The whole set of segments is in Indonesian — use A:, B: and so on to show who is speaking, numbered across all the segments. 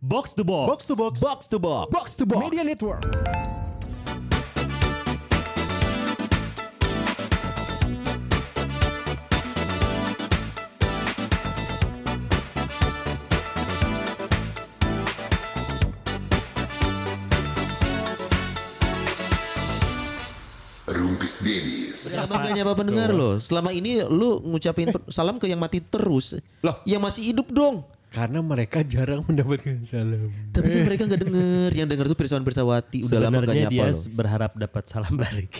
A: Box to box.
B: Box to box.
C: Box to box.
B: Box to box.
C: Media Network.
D: Rumpis Dedis.
C: Selamat gak
B: Ah,
C: nyapa pendengar loh. Selama ini lu ngucapin per- salam ke yang mati terus.
B: Loh.
C: Yang masih hidup dong.
B: Karena mereka jarang mendapatkan salam.
C: Tapi kan mereka gak denger. Yang denger tuh Pirsawan Pirsawati. Udah lama gak
A: Sebenarnya
C: nyapa
A: dia
C: loh.
A: berharap dapat salam balik.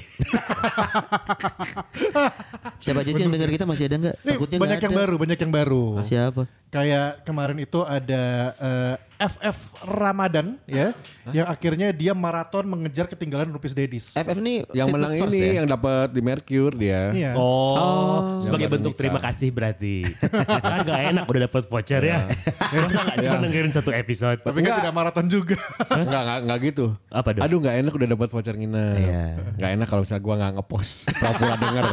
C: Siapa aja sih yang denger kita masih ada gak?
B: Nih,
C: Takutnya
B: banyak
C: gak
B: yang
C: ada.
B: baru, banyak yang baru.
C: Siapa?
B: Kayak kemarin itu ada eh, FF Ramadan ya, yang akhirnya dia maraton mengejar ketinggalan Rupis Dedis.
C: FF nih
E: Yang menang
C: fitness first
E: ini
C: ya?
E: yang dapat di Mercure dia.
B: Iya.
A: Oh, sebagai
E: Yang baru
A: bentuk
E: nikah.
A: terima kasih berarti. kan gak enak udah dapat voucher ya.
B: Iya.
A: Masa gak cuma dengerin satu episode.
B: Tapi kan tidak maraton juga.
E: Enggak, enggak, enggak gitu.
A: Apa dong?
E: Aduh enggak enak udah dapat voucher nginep.
C: Iya.
E: Enggak enak kalau misalnya gua enggak ngepost. Pura-pura denger.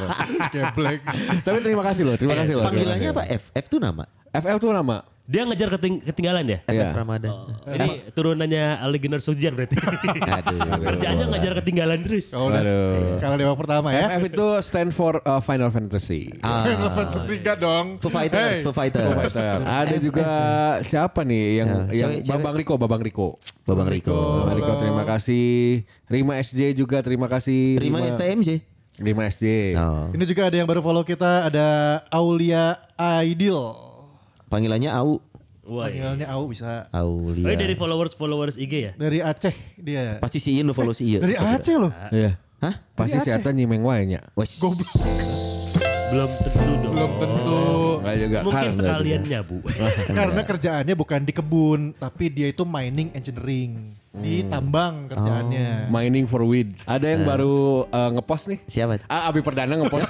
E: Kayak black. Tapi terima kasih loh, terima kasih loh. terima
C: Panggilannya
E: kasih.
C: apa F? F tuh nama?
E: FL tuh nama.
A: Dia ngejar keting- ketinggalan
B: Eh.
A: ya?
C: FF
E: Iya.
C: Ramadan.
A: Ini turunannya Legioner Sujian berarti.
C: Aduh.
A: Kerjaannya ngejar ketinggalan terus.
B: Oh, udah.
E: Aduh.
B: Kalau dewa pertama ya.
E: FF itu stand for uh, Final Fantasy.
B: Final Fantasy enggak dong.
C: Ah. Foo Fighters, Foo Fighters.
E: Foo Fighters. Ada
C: F-
E: juga siapa nih yang
C: Ya,
E: yang
C: cewek- cewek.
E: Babang Riko, Babang Riko.
C: Babang Riko.
E: Babang Riko terima kasih. Rima SJ juga terima kasih.
C: Terima STMJ.
E: Rima SJ.
C: Oh.
B: Ini juga ada yang baru follow kita ada Aulia Aidil.
C: Panggilannya Au.
A: Wah. iya.
B: Panggilannya Au bisa. Iya.
A: Oh,
C: Aulia.
A: ini dari followers followers IG ya?
B: Dari Aceh dia.
C: Pasti si Iin lu follow si Iin.
B: Dari Aceh loh.
E: Iya.
C: Hah?
E: Pasti si Ata nyimeng wae nya.
C: Wes.
A: Belum tentu dong.
B: Belum tentu.
E: Enggak juga
B: ya.
A: Mungkin
E: Karena
A: sekalian nyabu.
B: Karena
C: Iya.
B: kerjaannya bukan di kebun, tapi dia itu mining engineering.
C: Hmm.
B: Di tambang
E: juga.
C: Oh.
B: kerjaannya.
E: Mining for weed. Ada yang baru eh, ngepost nih.
C: Siapa?
E: Ah, Abi Perdana ngepost.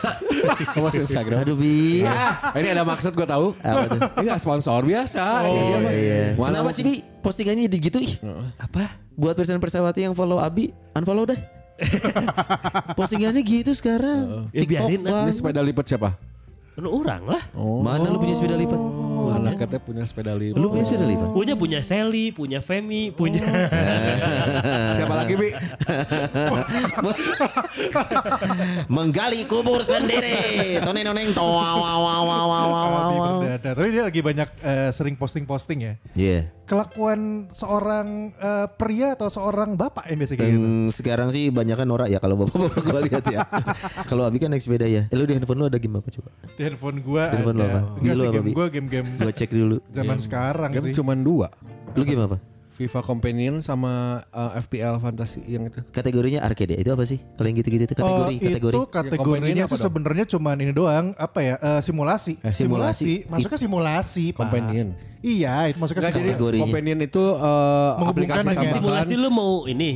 E: ngepost Instagram.
C: Aduh bi.
E: Ah, ini ada maksud gue tahu.
C: Apa tuh?
E: Ini nggak sponsor biasa.
B: Oh,
E: Ini apa?
C: Iya.
E: Mana
C: Kenapa sih bi postingannya di gitu ih?
A: Apa?
C: Buat persen persawati yang follow Abi unfollow dah. postingannya gitu sekarang.
A: Ya, biarin,
C: TikTok
E: Ini
C: bang.
E: sepeda lipat siapa?
A: Lu orang lah.
C: Mana lu punya sepeda lipat?
E: Oh, anak katanya punya sepeda lipat.
C: Lu punya sepeda lipat?
A: Punya punya Sally, punya Femi, punya
E: Oh. Siapa lagi bi?
C: Menggali kubur sendiri. Toneng noneng toa wow wow wow wow wow
B: Abi
C: wow.
B: Perdana. Tapi dia lagi banyak eh, sering posting-posting ya.
C: Iya.
B: Kelakuan seorang eh, pria atau seorang bapak yang biasa kayak gitu.
C: Dan Hmm, sekarang sih banyak kan norak ya kalau bapak-bapak gua lihat ya. kalau Abi kan naik sepeda ya. Eh, lu di handphone lu ada game apa coba?
B: Di handphone gua
C: Di handphone
B: ada.
C: lo apa?
B: Enggak
C: Di
B: sih
C: lo apa,
B: game
C: Bi?
B: gua game-game
C: Gua cek dulu.
B: zaman sekarang
E: Game
B: sih.
E: Kan cuman dua.
C: Lu game apa?
E: FIFA Companion sama eh, FPL Fantasy yang itu.
C: Kategorinya arcade ya? Itu apa sih? Kalau yang gitu-gitu itu
B: Oh,
C: kategori, kategori.
B: itu
E: Kompendinya
B: kategorinya
E: apa
B: sih
E: dong?
B: sebenarnya cuman ini doang apa ya eh, simulasi.
E: Eh,
C: simulasi.
B: masuknya simulasi pak.
E: Companion.
B: Iya itu
E: Enggak
B: masuknya
E: jadi
B: simulasi.
C: kategorinya.
E: Companion itu eh,
B: Menghubungkan
E: aplikasi
B: dengan-
E: tambahan.
A: simulasi lu mau ini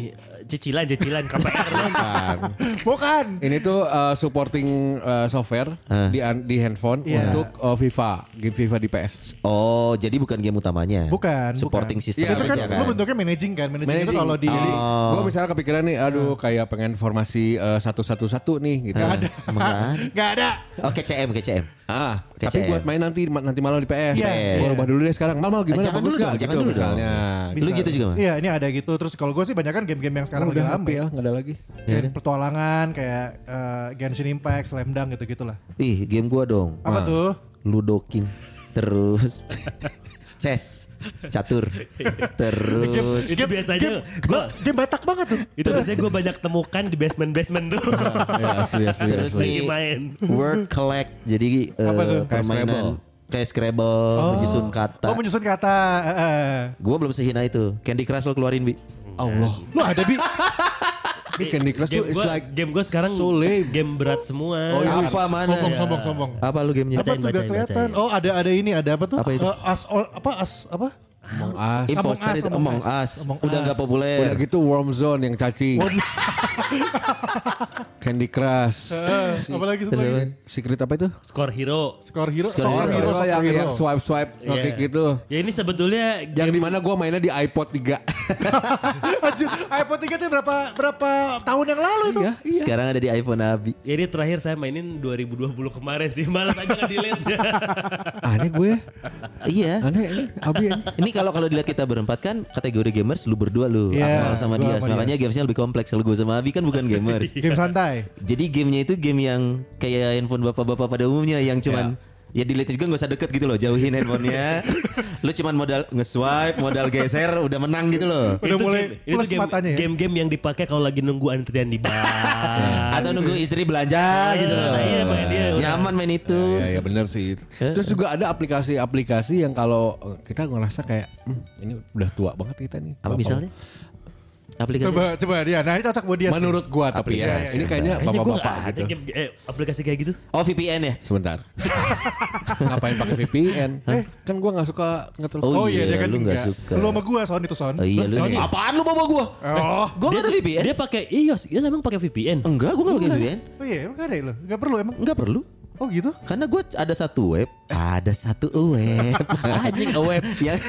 A: cicilan-cicilan KPR lu.
E: Bukan.
B: Bukan.
E: Ini tuh eh, supporting eh, software di an- di handphone
B: Iya.
E: untuk eh, FIFA, game FIFA di PS.
C: Oh, jadi bukan game utamanya.
B: Bukan,
C: Supporting
B: bukan.
C: system
E: Iya,
B: itu
C: aja
B: kan,
C: kan.
B: lu bentuknya managing kan. Managing, itu
E: Managing. Oh.
B: kalau di
E: Jadi, gua misalnya kepikiran nih, aduh kayak pengen formasi eh, satu-satu-satu nih gitu.
C: ada. Emang nggak ada?
B: nggak ada.
C: Oh, KCM, KCM.
E: Ah,
C: Kayak
E: tapi
C: CM.
E: buat main nanti ma- nanti malam di PS.
B: Iya.
E: Gua rubah dulu deh sekarang. Mal mal gimana?
C: jangan
E: Bagus
C: dulu
E: nggak?
C: dong, jangan
E: Gitu
C: dulu dong.
E: misalnya.
C: Lu gitu juga, Mas?
B: Iya ini ada gitu. Terus kalau gue sih banyak kan game-game yang sekarang lagi
E: udah
B: rame.
E: ya, nggak ada lagi.
B: Kayak Pertualangan kayak eh, Genshin Impact, Slam Dunk gitu-gitu lah.
C: Ih, game gua dong.
B: Apa tuh?
C: Ludoking. Terus chess, catur. Terus
A: Itu biasanya
B: Gue
A: gua
B: game Batak banget tuh.
A: itu biasanya gue banyak temukan di basement-basement tuh.
E: Iya, asli asli
C: terus
E: asli.
C: nih
A: main.
C: word collect. Jadi eh,
E: tuh? Kayak
C: permainan kayak Scrabble, menyusun kata.
B: Oh menyusun kata. eh, eh.
C: Gua belum sehina itu. Candy Crush lo keluarin, Bi.
E: Allah.
B: Lu ada bi?
E: Ini Candy Crush tuh
A: Game
E: is
A: gue
E: like
A: game gua sekarang
E: so lame.
A: game berat semua.
E: Oh, iya.
C: Apa mana?
B: Sombong, sombong, sombong.
C: Apa lu gamenya?
B: Apa
A: Bacain,
B: tuh gak
A: bacain,
B: kelihatan?
A: bacain.
B: Oh ada ada ini ada apa tuh?
C: Apa itu?
B: Eh, as or- apa as apa?
E: Among Us.
C: Imposter
B: Us,
C: itu Among
B: Among Us.
C: Us.
B: Among
C: Udah nggak
B: Us.
C: populer.
E: Udah gitu Warm Zone yang cacing. Candy Crush.
B: Apalagi satu
C: Terus apa?
B: Eh, lagi?
E: Secret apa itu?
A: Score Hero.
B: Skor hero,
C: Skor
B: soccer
C: hero.
B: hero, soccer
E: Oh, yang,
B: hero.
E: yang swipe swipe
A: Iya.
E: ngeklik gitu.
A: Ya ini sebetulnya
E: Yang dimana gue mainnya di iPod 3
B: Anjir, iPhone 3 itu berapa berapa tahun yang lalu itu?
E: Iya iya.
C: Sekarang ada di iPhone Abi.
A: ya ini terakhir saya mainin 2020 kemarin sih. Malas aja nge-delete.
E: Aneh Ah, gue
C: Iya.
E: Aneh Abi aneh.
C: Ini kalau kalau dilihat kita berempat kan kategori gamers lu berdua lu
B: Iya,
C: Akmal sama
B: gua
C: dia.
B: sama
C: Makanya
B: Dias.
C: gamesnya lebih kompleks. Kalau gue sama Abi kan bukan gamers.
B: Game santai.
C: Jadi gamenya itu game yang kayak handphone bapak-bapak pada umumnya yang cuman ya dilihat juga nggak usah deket gitu loh jauhin handphonenya. lu cuman modal nge-swipe, modal geser udah menang gitu loh.
B: Udah
A: Itu
B: mulai
A: game- itu
B: plus
A: game-
B: matanya ya?
A: Game-game yang dipakai kalau lagi nunggu antrian di Iya. bar.
C: Atau nunggu istri belanja gitu loh.
A: Nah, iya, makanya dia udah-
C: Nyaman main itu.
E: Ya, ya benar sih. Terus juga ada aplikasi-aplikasi yang kalau eh, kita ngerasa kayak "Hmm, ini udah tua banget kita nih.
C: Apa
E: Bapak-
C: misalnya? Aplikasi
B: Coba coba dia. Nah, ini cocok buat dia.
E: Menurut gua tapi ya,
C: Aplikasi. Iya,
E: ini kayaknya
A: Kayaknya gua
E: bapak-bapak
A: nggak ada
E: gitu.
A: game- eh, aplikasi kayak gitu.
C: Oh VPN ya?
E: Sebentar. Ngapain pakai VPN? Kan gua nggak suka ngetel.
C: Oh,
B: Oh, iya, dia
C: iya,
B: kan
C: lu nggak
B: enggak.
C: suka.
B: Lu sama gua Son itu Son.
C: Oh iya lu
A: Soalnya-
C: nih. Apaan lu bawa gua?
B: Oh.
C: Gua nggak ada VPN.
A: Dia pakai iOS, dia emang pakai VPN.
C: Enggak, gua nggak pakai VPN.
B: Oh iya, emang ada ya lo? Gak perlu emang.
C: Enggak perlu.
B: Oh gitu?
C: Karena gue ada satu web, ada satu web.
A: Anjing web.
C: ya,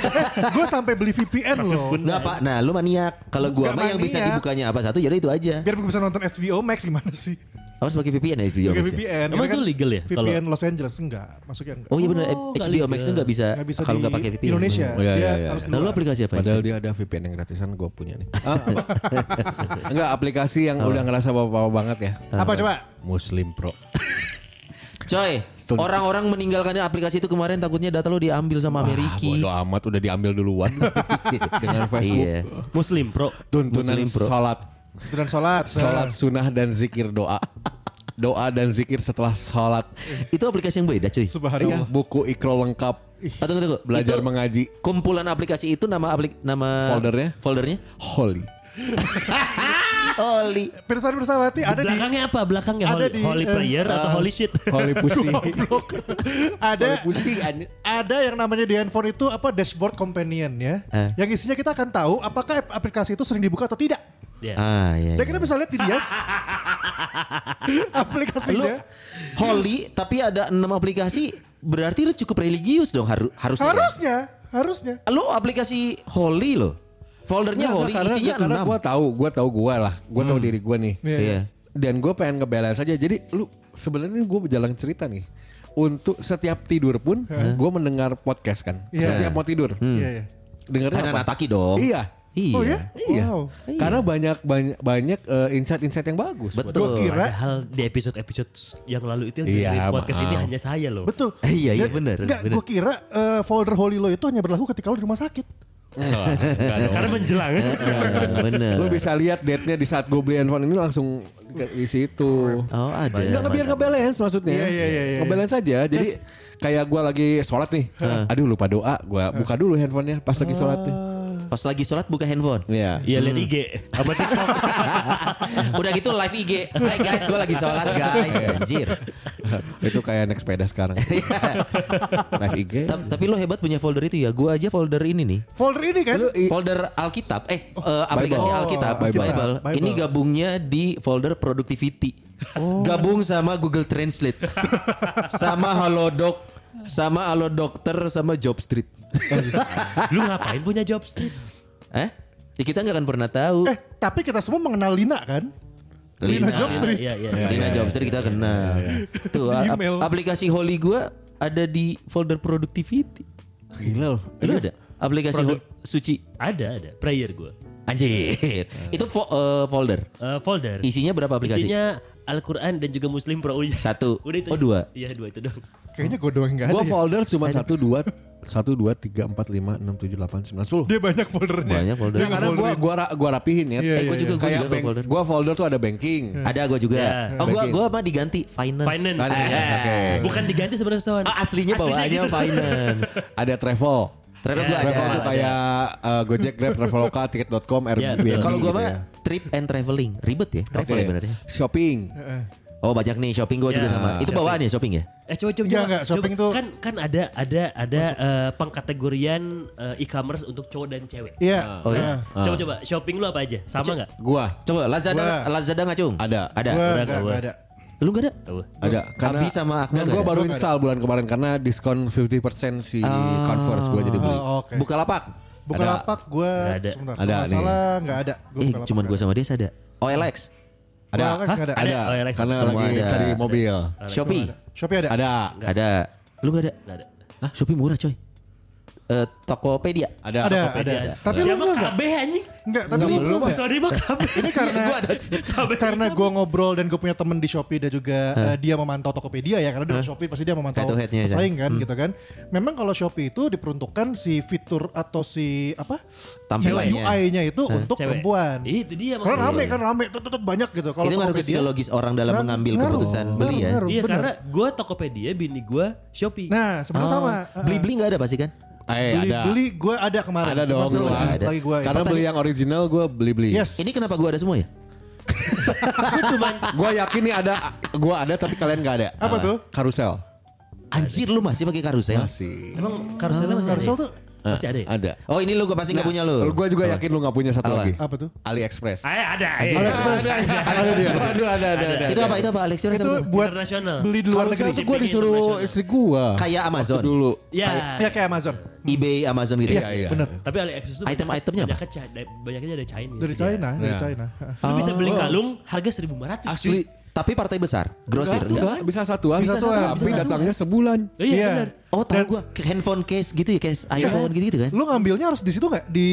B: Gua sampai beli VPN loh.
A: Bener.
C: enggak pak. Nah, lu maniak. Kalau gua
B: Enggak
C: mah yang bisa
B: maniak.
C: dibukanya apa satu, jadi itu aja.
B: Biar gue bisa nonton HBO Max gimana sih?
C: Harus pakai VPN ya HBO
B: Pakai
C: Max. ya?
B: VPN.
A: Emang
B: karena
A: itu legal ya? Kalau-
B: VPN Los Angeles enggak, masuknya enggak.
C: Oh iya benar,
A: Oh, nggak
C: HBO Max
A: liga.
C: itu enggak bisa,
B: ya. Nggak bisa
C: kalau
B: di
C: enggak pakai VPN.
B: Indonesia.
E: Oh, iya,
B: Dia
E: iya, iya.
B: harus
C: Nah, lu
B: keluar.
C: aplikasi apa?
E: Padahal dia ada VPN yang gratisan gua punya nih. Ah, apa? Enggak aplikasi yang udah ngerasa bapak-bapak banget ya.
B: Apa coba?
E: Muslim Pro.
C: Coy, orang-orang meninggalkannya aplikasi itu kemarin takutnya data lu diambil sama
E: Ah,
C: Amerika.
E: bodo amat udah diambil duluan dengan Facebook.
C: Iya.
A: Muslim Pro.
E: Tuntunan
C: Muslim Pro.
E: salat,
B: Dan sholat.
E: salat sunnah dan zikir doa. Doa dan zikir setelah salat.
C: Itu aplikasi yang beda, cuy.
E: Iya,
B: Subhanallah.
E: buku ikro lengkap.
C: Ah, tunggu, tunggu.
E: Belajar
C: Itu Ah.
E: mengaji.
C: kumpulan aplikasi itu nama aplik nama
E: Foldernya?
C: Foldernya?
E: Holy.
C: Oli.
B: Pirsawan Pirsawati ada di
A: Belakangnya apa? Belakangnya holy,
B: ada di,
A: holy
B: eh,
A: prayer atau holy shit?
E: Holy pussy.
B: ada
E: Holy pussy. anj-
B: ada yang namanya di handphone itu apa dashboard companion ya.
C: Eh.
B: Yang isinya kita akan tahu apakah ap- aplikasi itu sering dibuka atau tidak.
A: Ya.
C: Ah, iya.
B: Dan
C: iya.
B: kita bisa lihat di Dias
C: Lu
E: Iya.
B: aplikasinya.
C: holy tapi ada enam aplikasi berarti lu cukup religius dong haru, harusnya. ya?
B: Harusnya, harusnya.
C: Lu aplikasi holy loh. Foldernya
E: Enggak,
C: holy
E: karena,
C: isinya
E: karena
C: enam.
E: gue tahu, gue tahu gue lah, gue tahu diri gue nih.
C: Iya. Iya.
E: Dan gue pengen ngebalance aja. Jadi lu sebenarnya gue berjalan cerita nih. Untuk setiap tidur pun, gue mendengar podcast kan.
B: Iya.
E: Setiap mau tidur,
C: Hmm.
B: Iya, iya.
E: dengerin
C: Ada
E: apa?
C: Nataki dong.
E: Iya.
C: Iya.
B: Oh ya?
E: Iya.
B: Wow.
E: Karena banyak banyak banyak eh, insight-insight yang bagus. buat
C: Betul.
B: Gua kira
A: Padahal di episode-episode yang lalu itu yang
E: Iya,
A: dengerin podcast ini
E: maaf.
A: hanya saya loh.
B: Betul.
C: Eh, iya, iya,
B: Dan-
C: bener,
B: Enggak,
C: bener.
B: gue kira eh, folder Holy Lo itu hanya berlaku ketika lo di rumah sakit.
A: Karena menjelang.
C: Ah, bener.
E: Lu bisa lihat date-nya di saat gue beli handphone ini langsung ke di situ.
C: Oh ada.
E: Enggak biar ngebalance maksudnya.
B: Iya, iya, iya, iya.
E: Ngebalance aja. Jadi kayak gua lagi sholat nih. Aduh lupa doa, gua buka dulu handphonenya pas lagi sholat nih.
B: Ah.
C: Pas lagi sholat buka handphone.
E: Iya.
A: Iya lihat IG. Apa TikTok.
C: Udah gitu live IG. Hai guys, gue lagi sholat guys.
E: Iya.
C: Anjir.
E: itu kayak naik sepeda sekarang. Live IG.
C: Ta- Iya. Tapi lo hebat punya folder itu ya. Gue aja folder ini nih.
B: Folder ini kan?
E: Lu i-
C: Folder Alkitab, eh
B: Oh,
C: eh, aplikasi
E: Bible.
C: Alkitab,
E: Oh, Bible.
C: Bible.
B: Bible.
C: Ini gabungnya di folder productivity.
B: Oh.
C: Gabung sama Google Translate. sama Halodoc, sama Alodokter, sama Job Street.
A: Lu ngapain punya job street?
C: eh? Ya kita nggak akan pernah tahu.
B: Eh, tapi kita semua mengenal Lina kan? Lina Job Street.
A: Iya, iya.
C: Lina Job Street kita kenal. Tuh
B: Di
C: a-
B: email.
C: aplikasi Holy gua ada di folder productivity.
E: Gila loh.
C: Lu
B: Iya.
C: ada? Aplikasi
A: Produk-
C: Ho- suci.
A: Ada, ada. Prayer gue.
C: Anjir. Itu fo- eh, folder.
A: folder.
C: Isinya berapa aplikasi?
A: Isinya Al-Quran dan juga Muslim Pro. Udah.
C: Satu.
A: Udah itu.
C: Oh, dua.
A: Iya dua itu dong.
B: Kayaknya gue doang enggak ada.
E: Gua
B: ya.
E: folder cuma 1 2 1 2 3 4 5 6 7 8 9 10.
B: Dia banyak foldernya.
C: Banyak folder.
B: Dia
E: Nah, karena gua gua ra- gua rapihin ya.
B: Iya,
C: Eh, gua
B: iya,
C: juga, gua
E: kayak
C: juga
E: bank-
C: folder.
E: gua folder tuh ada banking.
C: Ada gue juga.
A: Ya.
C: Oh gue
E: Bagi.
C: gua mah diganti finance.
A: Finance.
E: Finance,
A: Eh,
E: oke.
A: Bukan diganti sebenarnya Son.
C: Oh, aslinya bawaannya
A: gitu.
C: finance.
E: Ada travel.
C: Travel
A: Ya,
C: gue ada. Iya,
E: Travel tuh kayak eh, Gojek, Grab, Traveloka, Tiket.com, Airbnb.
A: betul.
C: Kalau gue
E: gitu
C: mah
E: ya.
C: trip and traveling ribet ya travel
E: Oke.
C: ya benernya.
E: Shopping.
C: Oh banyak nih shopping gue juga
A: Ya.
C: sama. Itu bawaan ya shopping ya.
A: Eh coba coba.
B: Iya,
A: coba.
B: enggak, shopping
A: Coba.
B: tuh-
A: kan kan ada ada ada eh, pengkategorian eh, e-commerce untuk cowok dan cewek.
B: Iya.
C: Oh iya.
A: Coba coba shopping lu apa aja? Nah, Sama nggak?
E: Gua
C: Coba Lazada
B: Gua-
C: Lazada ngacung.
E: Ada.
C: Ada.
B: Gue
A: udah,
B: enggak
A: gua.
B: ada.
C: Lu gak ada?
A: Tahu.
E: ada karena
C: Abi sama Akmal
E: dan
C: nggak
E: gua
C: ada? Oh.
E: baru install bulan kemarin karena diskon 50% si Converse gua jadi beli.
B: Oh, oke.
C: Buka lapak.
B: Bukalapak gue
A: Nggak ada.
B: sebentar.
E: Ada
B: Kalau nggak
E: nih.
B: salah nggak ada. Gua
C: Eh
B: Bukalapak
C: cuman gue
B: nggak
C: sama dia ada. Oh, OLX.
E: Ada.
B: Gua nggak ada.
E: Ada.
A: Oh, Alexa.
E: Karena
C: ya, Semua
E: lagi
C: ada.
E: cari mobil.
C: Shopee.
B: ada. Shopee ada.
E: Ada.
C: Ada. Lu gak ada?
A: Nggak ada.
C: Hah Shopee murah coy. eh, Tokopedia.
E: Ada.
B: ada, ada.
A: Tokopedia ada.
B: Tapi lu
A: Siapa
B: enggak, enggak?
A: KB anjing?
B: Enggak, tapi
E: Enggak,
B: lu
E: lu
B: belum
E: mah.
B: enggak?
A: Sorry bang KB.
B: Ini karena
C: Gua ada sih.
A: KB.
B: karena gue ngobrol dan gue punya temen di Shopee dan juga eh, dia memantau Tokopedia ya karena di Shopee pasti dia memantau
C: Head to headnya ya.
B: pesaing kan gitu kan. Memang kalau Shopee itu diperuntukkan si fitur atau si apa
C: Tampilannya.
B: UI-nya itu untuk
A: Cewek. Iya,
B: perempuan.
A: Itu dia
B: Karena rame kan rame tut, tut, tut, banyak gitu. Kalau
C: itu ngaruh ke
B: Tokopedia-
C: psikologis orang dalam
B: Ngaruh,
C: mengambil
B: ngaruh,
C: keputusan beli ya.
B: ngaruh,
A: Iya
B: benar.
A: karena gue Tokopedia, bini gue Shopee.
B: Nah,
C: Oh,
B: sebenarnya sama.
C: Beli-beli nggak ada pasti kan?
E: Eh,
B: beli
E: ada.
B: beli gue ada kemarin.
E: Ada
B: Cuma
E: dong.
B: sekarang
E: lu
B: lagi-
E: ada.
B: Lagi ya. gue.
E: Karena beli yang original gue beli-beli.
B: Yes.
C: Ini kenapa gua ada semua ya?
E: Gue yakin nih ada, gue ada tapi kalian gak ada. Ah,
B: Apa tuh?
E: Karusel.
C: Anjir lu masih pakai karusel?
E: Masih.
A: Emang karuselnya masih
B: Karusel
A: ada?
B: Ah, tuh
A: ya? Masih ada ya?
E: Ada.
C: Oh ini lu gua pasti
E: Nah,
C: nggak punya lu.
E: Gue juga yakin lu gak punya satu
C: Apa?
E: lagi.
B: apa tuh?
E: AliExpress.
A: Ah, ada.
B: Ada
A: Ada.
B: Express.
E: Ada dia. Aduh, ada, ada, ada.
C: Itu apa? Itu apa Alex? Itu,
B: Itu buat
A: Internasional.
B: beli di luar negeri.
E: Karusel tuh gue disuruh
A: Internasional.
E: istri gue.
C: kayak Amazon,
E: Dulu.
A: Ya.
B: Ya kayak Amazon.
C: eBay, Amazon gitu.
E: Iya, iya.
B: Bener.
A: Tapi AliExpress tuh
C: Item-itemnya apa?
A: banyaknya, Ca- da- banyaknya dari China.
B: Dari
A: sih,
B: China, dari
E: Ya.
C: Nah.
B: China.
A: ya. Lu bisa beli kalung harga 1500 cuy.
C: Oh, Asli. Tapi partai besar, grosir enggak?
E: Enggak, bisa satuan.
B: Bisa satuan, bisa
E: Tapi
B: satuan.
E: datangnya sebulan.
A: Oh, Iya
B: Iya.
A: benar.
C: Oh tahu gua handphone case gitu ya, case iPhone gitu-gitu kan?
B: Eh, Lu ngambilnya harus di situ nggak? Di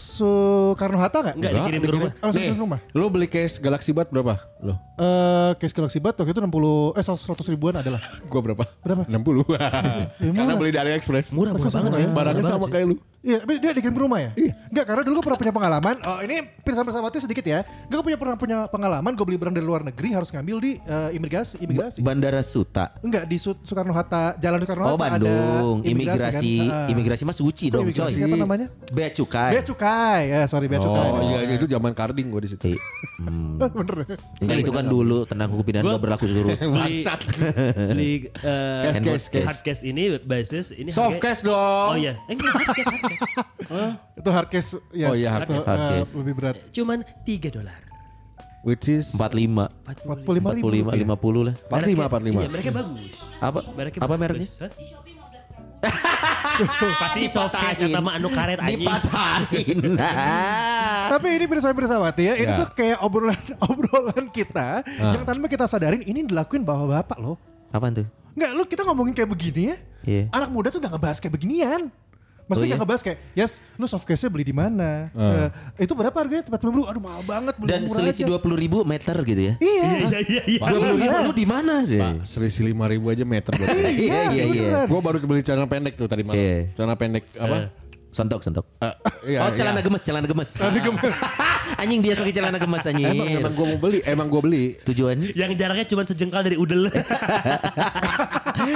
B: Soekarno Hatta nggak?
A: Enggak
E: Enggak,
A: dikirim ke
E: dikirim.
A: rumah.
B: Oh,
E: Nih,
B: di rumah.
E: Lu beli case Galaxy Bud berapa? Lo.
B: Eh, case Galaxy Bat waktu itu 60 eh 100 ribuan adalah.
E: Gua berapa?
B: Berapa?
E: 60. Karena
B: murah.
E: beli dari AliExpress.
A: Murah-murah banget ya? cuy.
E: Barangnya sama kayak lu.
B: Iya, tapi dia dikirim ke rumah ya? Iya. Enggak, karena dulu gue pernah punya pengalaman. Oh, ini hampir sama sama sedikit ya. Gue punya pernah punya pengalaman gue beli barang dari luar negeri harus ngambil di eh, imigrasi, imigrasi.
C: Bandara Suta.
B: Enggak di Soekarno Hatta, Jalan Soekarno Hatta
C: Oh Bandung, imigrasi,
B: kan? Ah.
C: imigrasi mah suci
B: Kok
C: dong
B: imigrasi?
C: coy.
B: Siapa namanya?
C: Bea cukai.
B: Bea cukai, ya sorry bea cukai.
E: Oh iya itu zaman carding gue di situ.
C: Eh,
B: Bener.
C: Enggak itu kan dulu tenang hukum pidana
A: Gua-
C: gak berlaku seluruh.
A: Beli, beli eh,
E: Case, case, case.
A: hard case ini basis ini
E: Soft
A: harganya-
E: case dong.
A: Oh iya, eh, enggak, hard case, hard case.
B: Itu hard case, yes.
E: Oh, iya, hard
B: Itu,
E: case,
C: hard
B: eh,
C: case.
B: lebih berat.
A: Cuman 3 dolar.
E: Which is
C: 45,
B: 45 ribu.
C: 45, 50 lah.
E: 45
A: Iya,
E: 45.
A: mereka bagus.
C: Apa
A: Mereknya
C: apa
A: bagus.
C: mereknya?
A: Hah? Pasti soft case
C: Dipatahin.
A: atau mah anu karet anjing.
C: Dipatahin.
B: Tapi ini pemirsa pemirsaawati ya, ini
E: Ya.
B: tuh kayak obrolan obrolan kita
C: Ah.
B: yang tanpa kita sadarin ini dilakuin bapak-bapak loh.
C: Apaan tuh?
B: Nggak, lu kita ngomongin kayak begini ya.
C: Iya.
B: Anak muda tuh nggak ngebahas kayak beginian.
C: Oh,
B: Maksudnya
C: iya? Ah.
B: nggak ngebahas kayak, yes, lu soft case-nya beli di mana? Eh, itu berapa harganya? Tempat beli aduh mahal banget. Beli
C: Dan
B: yang murah
C: selisih
B: aja.
C: 20 ribu meter gitu ya.
B: Iya,
A: Iya, iya, iya, iya.
E: Baru
C: Lu-
E: beli-
C: lu- Lu di mana deh?
E: Pak, selisih 5000 aja meter buat
C: Iya iya iya.
B: beneran.
E: Gue baru beli celana pendek tuh tadi malam.
C: Iya.
E: Celana pendek apa?
C: Sontok sontok.
E: Eh, iya,
C: oh
E: iya.
C: celana gemes, celana gemes. Celana gemes. anjing dia pakai celana gemes anjing.
E: Emang emang gue mau beli, emang gue beli.
C: Tujuannya
A: Yang jaraknya cuma sejengkal dari udel.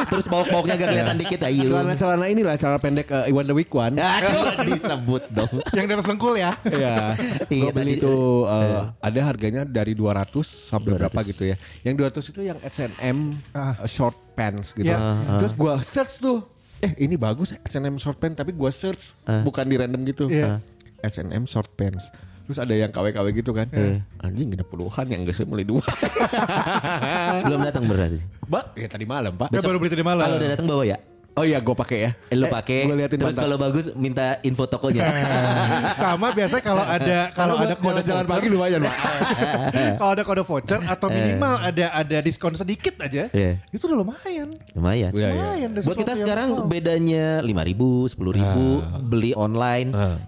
C: terus bawok-bawoknya agak kelihatan dikit ayo.
E: Celana-celana inilah celana pendek eh, Iwan the Weak One.
C: Aduh disebut dong.
B: yang di atas lengkul ya.
E: Iya,
C: Iya,
E: gue beli
C: tadi-
E: tuh eh, ada harganya dari 200 sampai berapa gitu ya. Yang 200 itu yang S&M eh, short pants gitu.
B: Iya.
C: Ah,
E: Terus gue search tuh, eh ini bagus S&M short pants tapi gue search
C: Ah.
E: bukan di random gitu.
B: Iya.
E: S&M short pants. Terus ada yang KW-KW gitu kan. Anjing ada puluhan yang gak beli dua.
C: Belum datang berarti.
E: Mbak, ya tadi malam pak.
B: Ya baru beli tadi malam.
C: Kalau udah datang bawa ya.
E: Oh iya gue pakai ya.
C: Eh, lu
E: Eh,
C: pakai.
E: Gue liatin
C: terus
E: mantap.
C: kalau bagus minta info tokonya.
B: Sama biasanya kalau ada kalau ada kode
E: jalan-jalan
B: voucher,
E: pagi lumayan pak.
B: kalau ada kode voucher atau minimal ada ada diskon sedikit
C: Eh.
B: aja,
C: Iya.
B: itu udah lumayan.
C: Lumayan.
E: Iya, iya.
B: Lumayan. ada
C: Buat
B: sesuatu
C: kita
B: yang- Ah.
C: sekarang
B: oh.
C: bedanya 5 ribu, 10 ribu, beli online.
B: Ah.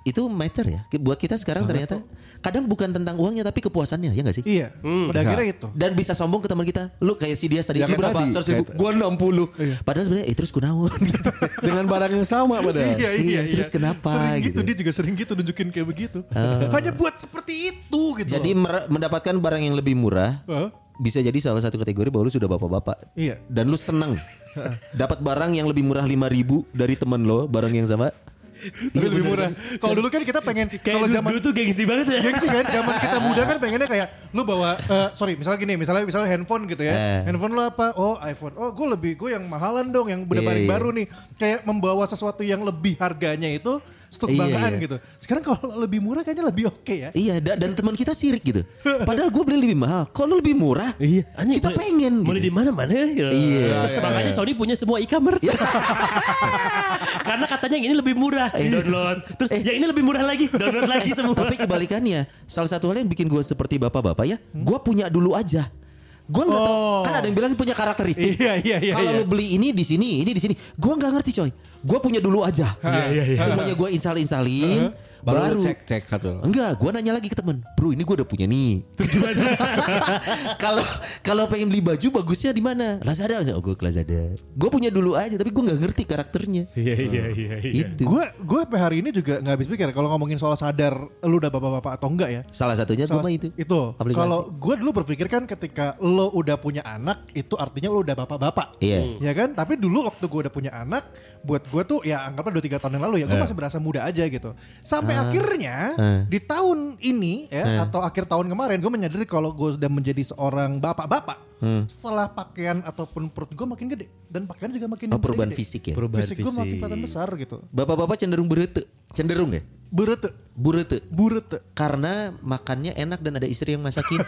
C: Itu matter ya. Buat kita sekarang ternyata kadang bukan tentang uangnya tapi kepuasannya ya gak sih?
B: Iya, pada akhirnya itu.
C: Dan bisa sombong ke teman kita. Lu kayak si dia tadi.
E: Ya,
C: Lu
E: kayak
C: berapa?
E: tadi.
C: 100 ribu.
E: Kayak-
C: Gua 60.
B: Iya.
C: Padahal sebenarnya eh terus kunaon gitu.
E: Dengan barang yang sama padahal.
B: Iya, iya, iya.
C: terus kenapa gitu.
B: Sering
C: Eh.
B: gitu. dia juga sering gitu nunjukin kayak begitu. Hanya buat seperti itu gitu.
C: Jadi mer- mendapatkan barang yang lebih murah
B: loh. Hah?
C: bisa jadi salah satu kategori bahwa lu sudah bapak-bapak.
B: Iya.
C: Dan lu seneng dapat barang yang lebih murah 5 ribu dari temen lo barang yang sama. Iya,
B: Tapi lebih murah. Kalau dulu kan kita pengen
A: Kayak
B: kalau
A: dulu-
B: zaman
A: dulu tuh gengsi banget ya.
B: gengsi kan zaman kita muda kan pengennya kayak lu bawa eh, sorry misalnya gini misalnya misalnya handphone gitu
C: Eh.
B: ya handphone lu apa oh iPhone oh gue lebih gue yang mahalan dong yang udah
C: Iya,
B: paling
C: iya.
B: baru nih kayak membawa sesuatu yang lebih harganya itu stok
C: Iya,
B: banggaan
C: iya.
B: gitu sekarang kalau lebih murah kayaknya lebih oke ya
C: Iya, da- dan teman kita sirik gitu. Padahal gue beli lebih mahal. Kok lu lebih murah?
A: Iya, anjing,
C: Kita
A: boleh-
C: pengen. gitu.
A: Boleh di mana-mana. Iya. Makanya Sony punya semua e-commerce.
C: Iya.
A: Karena katanya yang ini lebih murah, download. Terus yang ini lebih murah lagi, download lagi semua.
C: Iya. Eh. Tapi kebalikannya, salah satu hal yang bikin gue seperti bapak-bapak ya, gue punya dulu aja. Gue nggak tahu. Kan ada yang bilang punya karakteristik.
B: Iya, iya, iya,
C: Kalau
B: iya.
C: lu beli ini di sini, ini di sini, gue nggak ngerti coy. Gue punya dulu aja.
A: Iya, iya, iya.
C: Semuanya gue install-installin.
E: Baru,
C: Baru,
E: cek cek satu.
C: Enggak, gue nanya lagi ke temen, bro ini gue udah punya nih. Kalau kalau pengen beli baju bagusnya di mana? Lazada, oh, gue ke Lazada. Gue punya dulu aja, tapi gue nggak ngerti karakternya.
A: Iya iya iya iya.
C: Itu
B: Gue gue sampai hari ini juga nggak habis pikir kalau ngomongin soal sadar lu udah bapak-bapak atau enggak ya.
C: salah satunya gue
B: Salah-
C: mah itu. Aplikasi.
B: Kalau gue dulu berpikir kan ketika lo udah punya anak itu artinya lo udah bapak-bapak.
C: Iya.
B: Ya kan? Tapi dulu waktu gue udah punya anak, buat gue tuh ya anggaplah 2-3 tahun yang lalu ya,
C: Eh.
B: gue masih berasa muda aja gitu. Sampai akhirnya
C: Ah.
B: di tahun ini
C: Eh.
B: ya atau akhir tahun kemarin gue menyadari kalau gue sudah menjadi seorang bapak-bapak.
C: Hmm.
B: Setelah pakaian ataupun perut gue makin gede dan pakaian juga makin
C: Oh, perubahan
B: gede-gede.
C: fisik ya.
A: Perubahan
B: fisik gue makin
A: fisik.
B: kelihatan besar gitu.
C: Bapak-bapak cenderung berete, cenderung ya,
B: Burete,
C: burete.
B: burete.
C: Karena makannya enak dan ada istri yang masakin.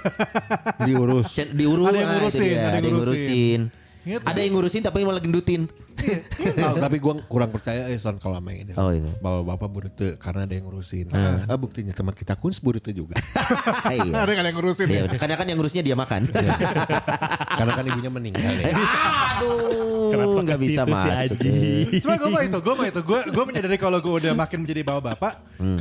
E: Diurus.
C: Cen- diurus
B: Ada yang
C: ah, itu
B: ngurusin,
C: dia, ada yang ngurusin.
B: Ingat
C: Ada yang ngurusin tapi malah gendutin.
E: Nah, tapi gue kurang percaya eh soal kalau main ini.
C: Oh, iya.
E: Bahwa bapak burute karena ada yang ngurusin. Ah, buktinya teman kita kuns burute juga.
C: Ah, iya.
B: Ada kali yang ngurusin. ya?
C: Iya, Karena kan yang ngurusnya dia makan.
E: karena kan ibunya meninggal ya.
C: Aduh,
A: Kenapa
C: nggak
A: ke
C: bisa
A: situ sih,
C: masuk. eh.
A: Aji?
B: Cuma gue mah itu, gue mah itu, gue gue menyadari kalau gue udah makin menjadi bawa bapak,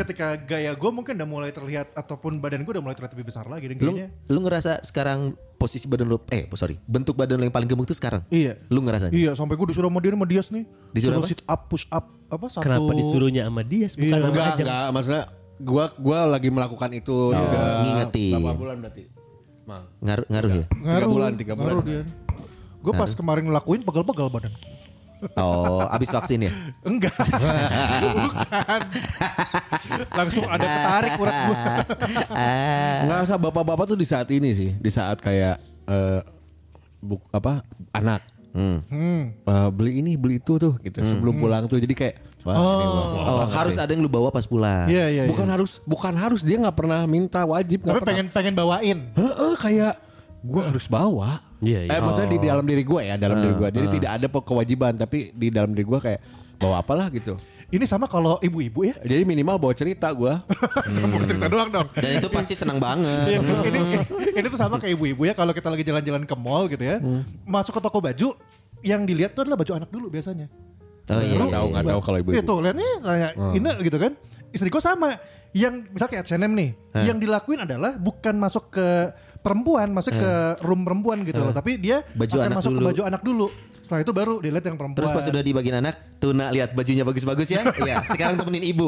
B: ketika gaya gue mungkin udah mulai terlihat ataupun badan gue udah mulai terlihat lebih besar lagi dan
C: Lu,
B: kayaknya.
C: lu ngerasa sekarang posisi badan lu, eh sorry, bentuk badan lu yang paling gemuk tuh sekarang?
B: Iya.
C: Lu ngerasa?
B: Iya, sampai gue disuruh sama dia sama Dias nih.
C: Disuruh
B: Suruh
C: apa?
B: sit up, push up, apa satu.
A: Kenapa disuruhnya sama dia? Bukan sama
E: Enggak,
A: Ajeng.
E: enggak. Maksudnya gua gua lagi melakukan itu juga.
C: ngingetin.
E: Berapa bulan berarti? Mang.
C: Ngaruh, ngaruh
A: Iya.
C: ya?
E: Tiga bulan, tiga bulan.
B: Ngaruh dia. Gue pas kemarin ngelakuin pegel-pegel badan.
C: Oh, abis vaksin ya?
B: Enggak. Bukan. Langsung ada ketarik urat gue.
E: Ngerasa bapak-bapak tuh di saat ini sih, di saat kayak eh, buk, apa anak Eh, beli ini beli itu tuh gitu sebelum pulang tuh jadi kayak wah, ini gua-
C: Oh, harus ada yang lu bawa pas pulang.
B: Iya, iya, iya.
E: bukan harus bukan harus dia nggak pernah minta wajib nggak
B: Tapi
E: pernah.
B: pengen pengen bawain.
E: Heeh, kayak gue harus bawa.
A: Iya, iya.
E: Eh maksudnya di dalam diri gue ya, dalam diri gue. Jadi tidak ada pe- kewajiban, tapi di dalam diri gue kayak bawa apalah gitu.
B: Ini sama kalau ibu-ibu ya.
E: Jadi minimal bawa cerita gue.
B: Cuma cerita doang dong.
C: Dan itu pasti senang banget.
B: Iya, ini ini tuh sama kayak ibu-ibu ya kalau kita lagi jalan-jalan ke mall gitu ya. Masuk ke toko baju yang dilihat tuh adalah baju anak dulu biasanya.
C: Oh iya,
E: Nggak
C: iya,
E: tahu
C: iya.
E: nggak tahu kalau ibu-ibu.
B: Itu lihatnya kayak
C: Hmm.
B: ini gitu kan. Istri gue sama yang misalnya kayak H&M nih,
C: Eh.
B: yang dilakuin adalah bukan masuk ke perempuan, masuk ke room perempuan gitu loh, tapi dia
C: Eh. Baju
B: akan
C: anak
B: masuk ke
C: dulu.
B: baju anak dulu. Setelah itu baru dilihat yang perempuan.
C: Terus pas sudah di bagian anak, Tuna lihat bajunya bagus-bagus ya. Iya, sekarang temenin ibu.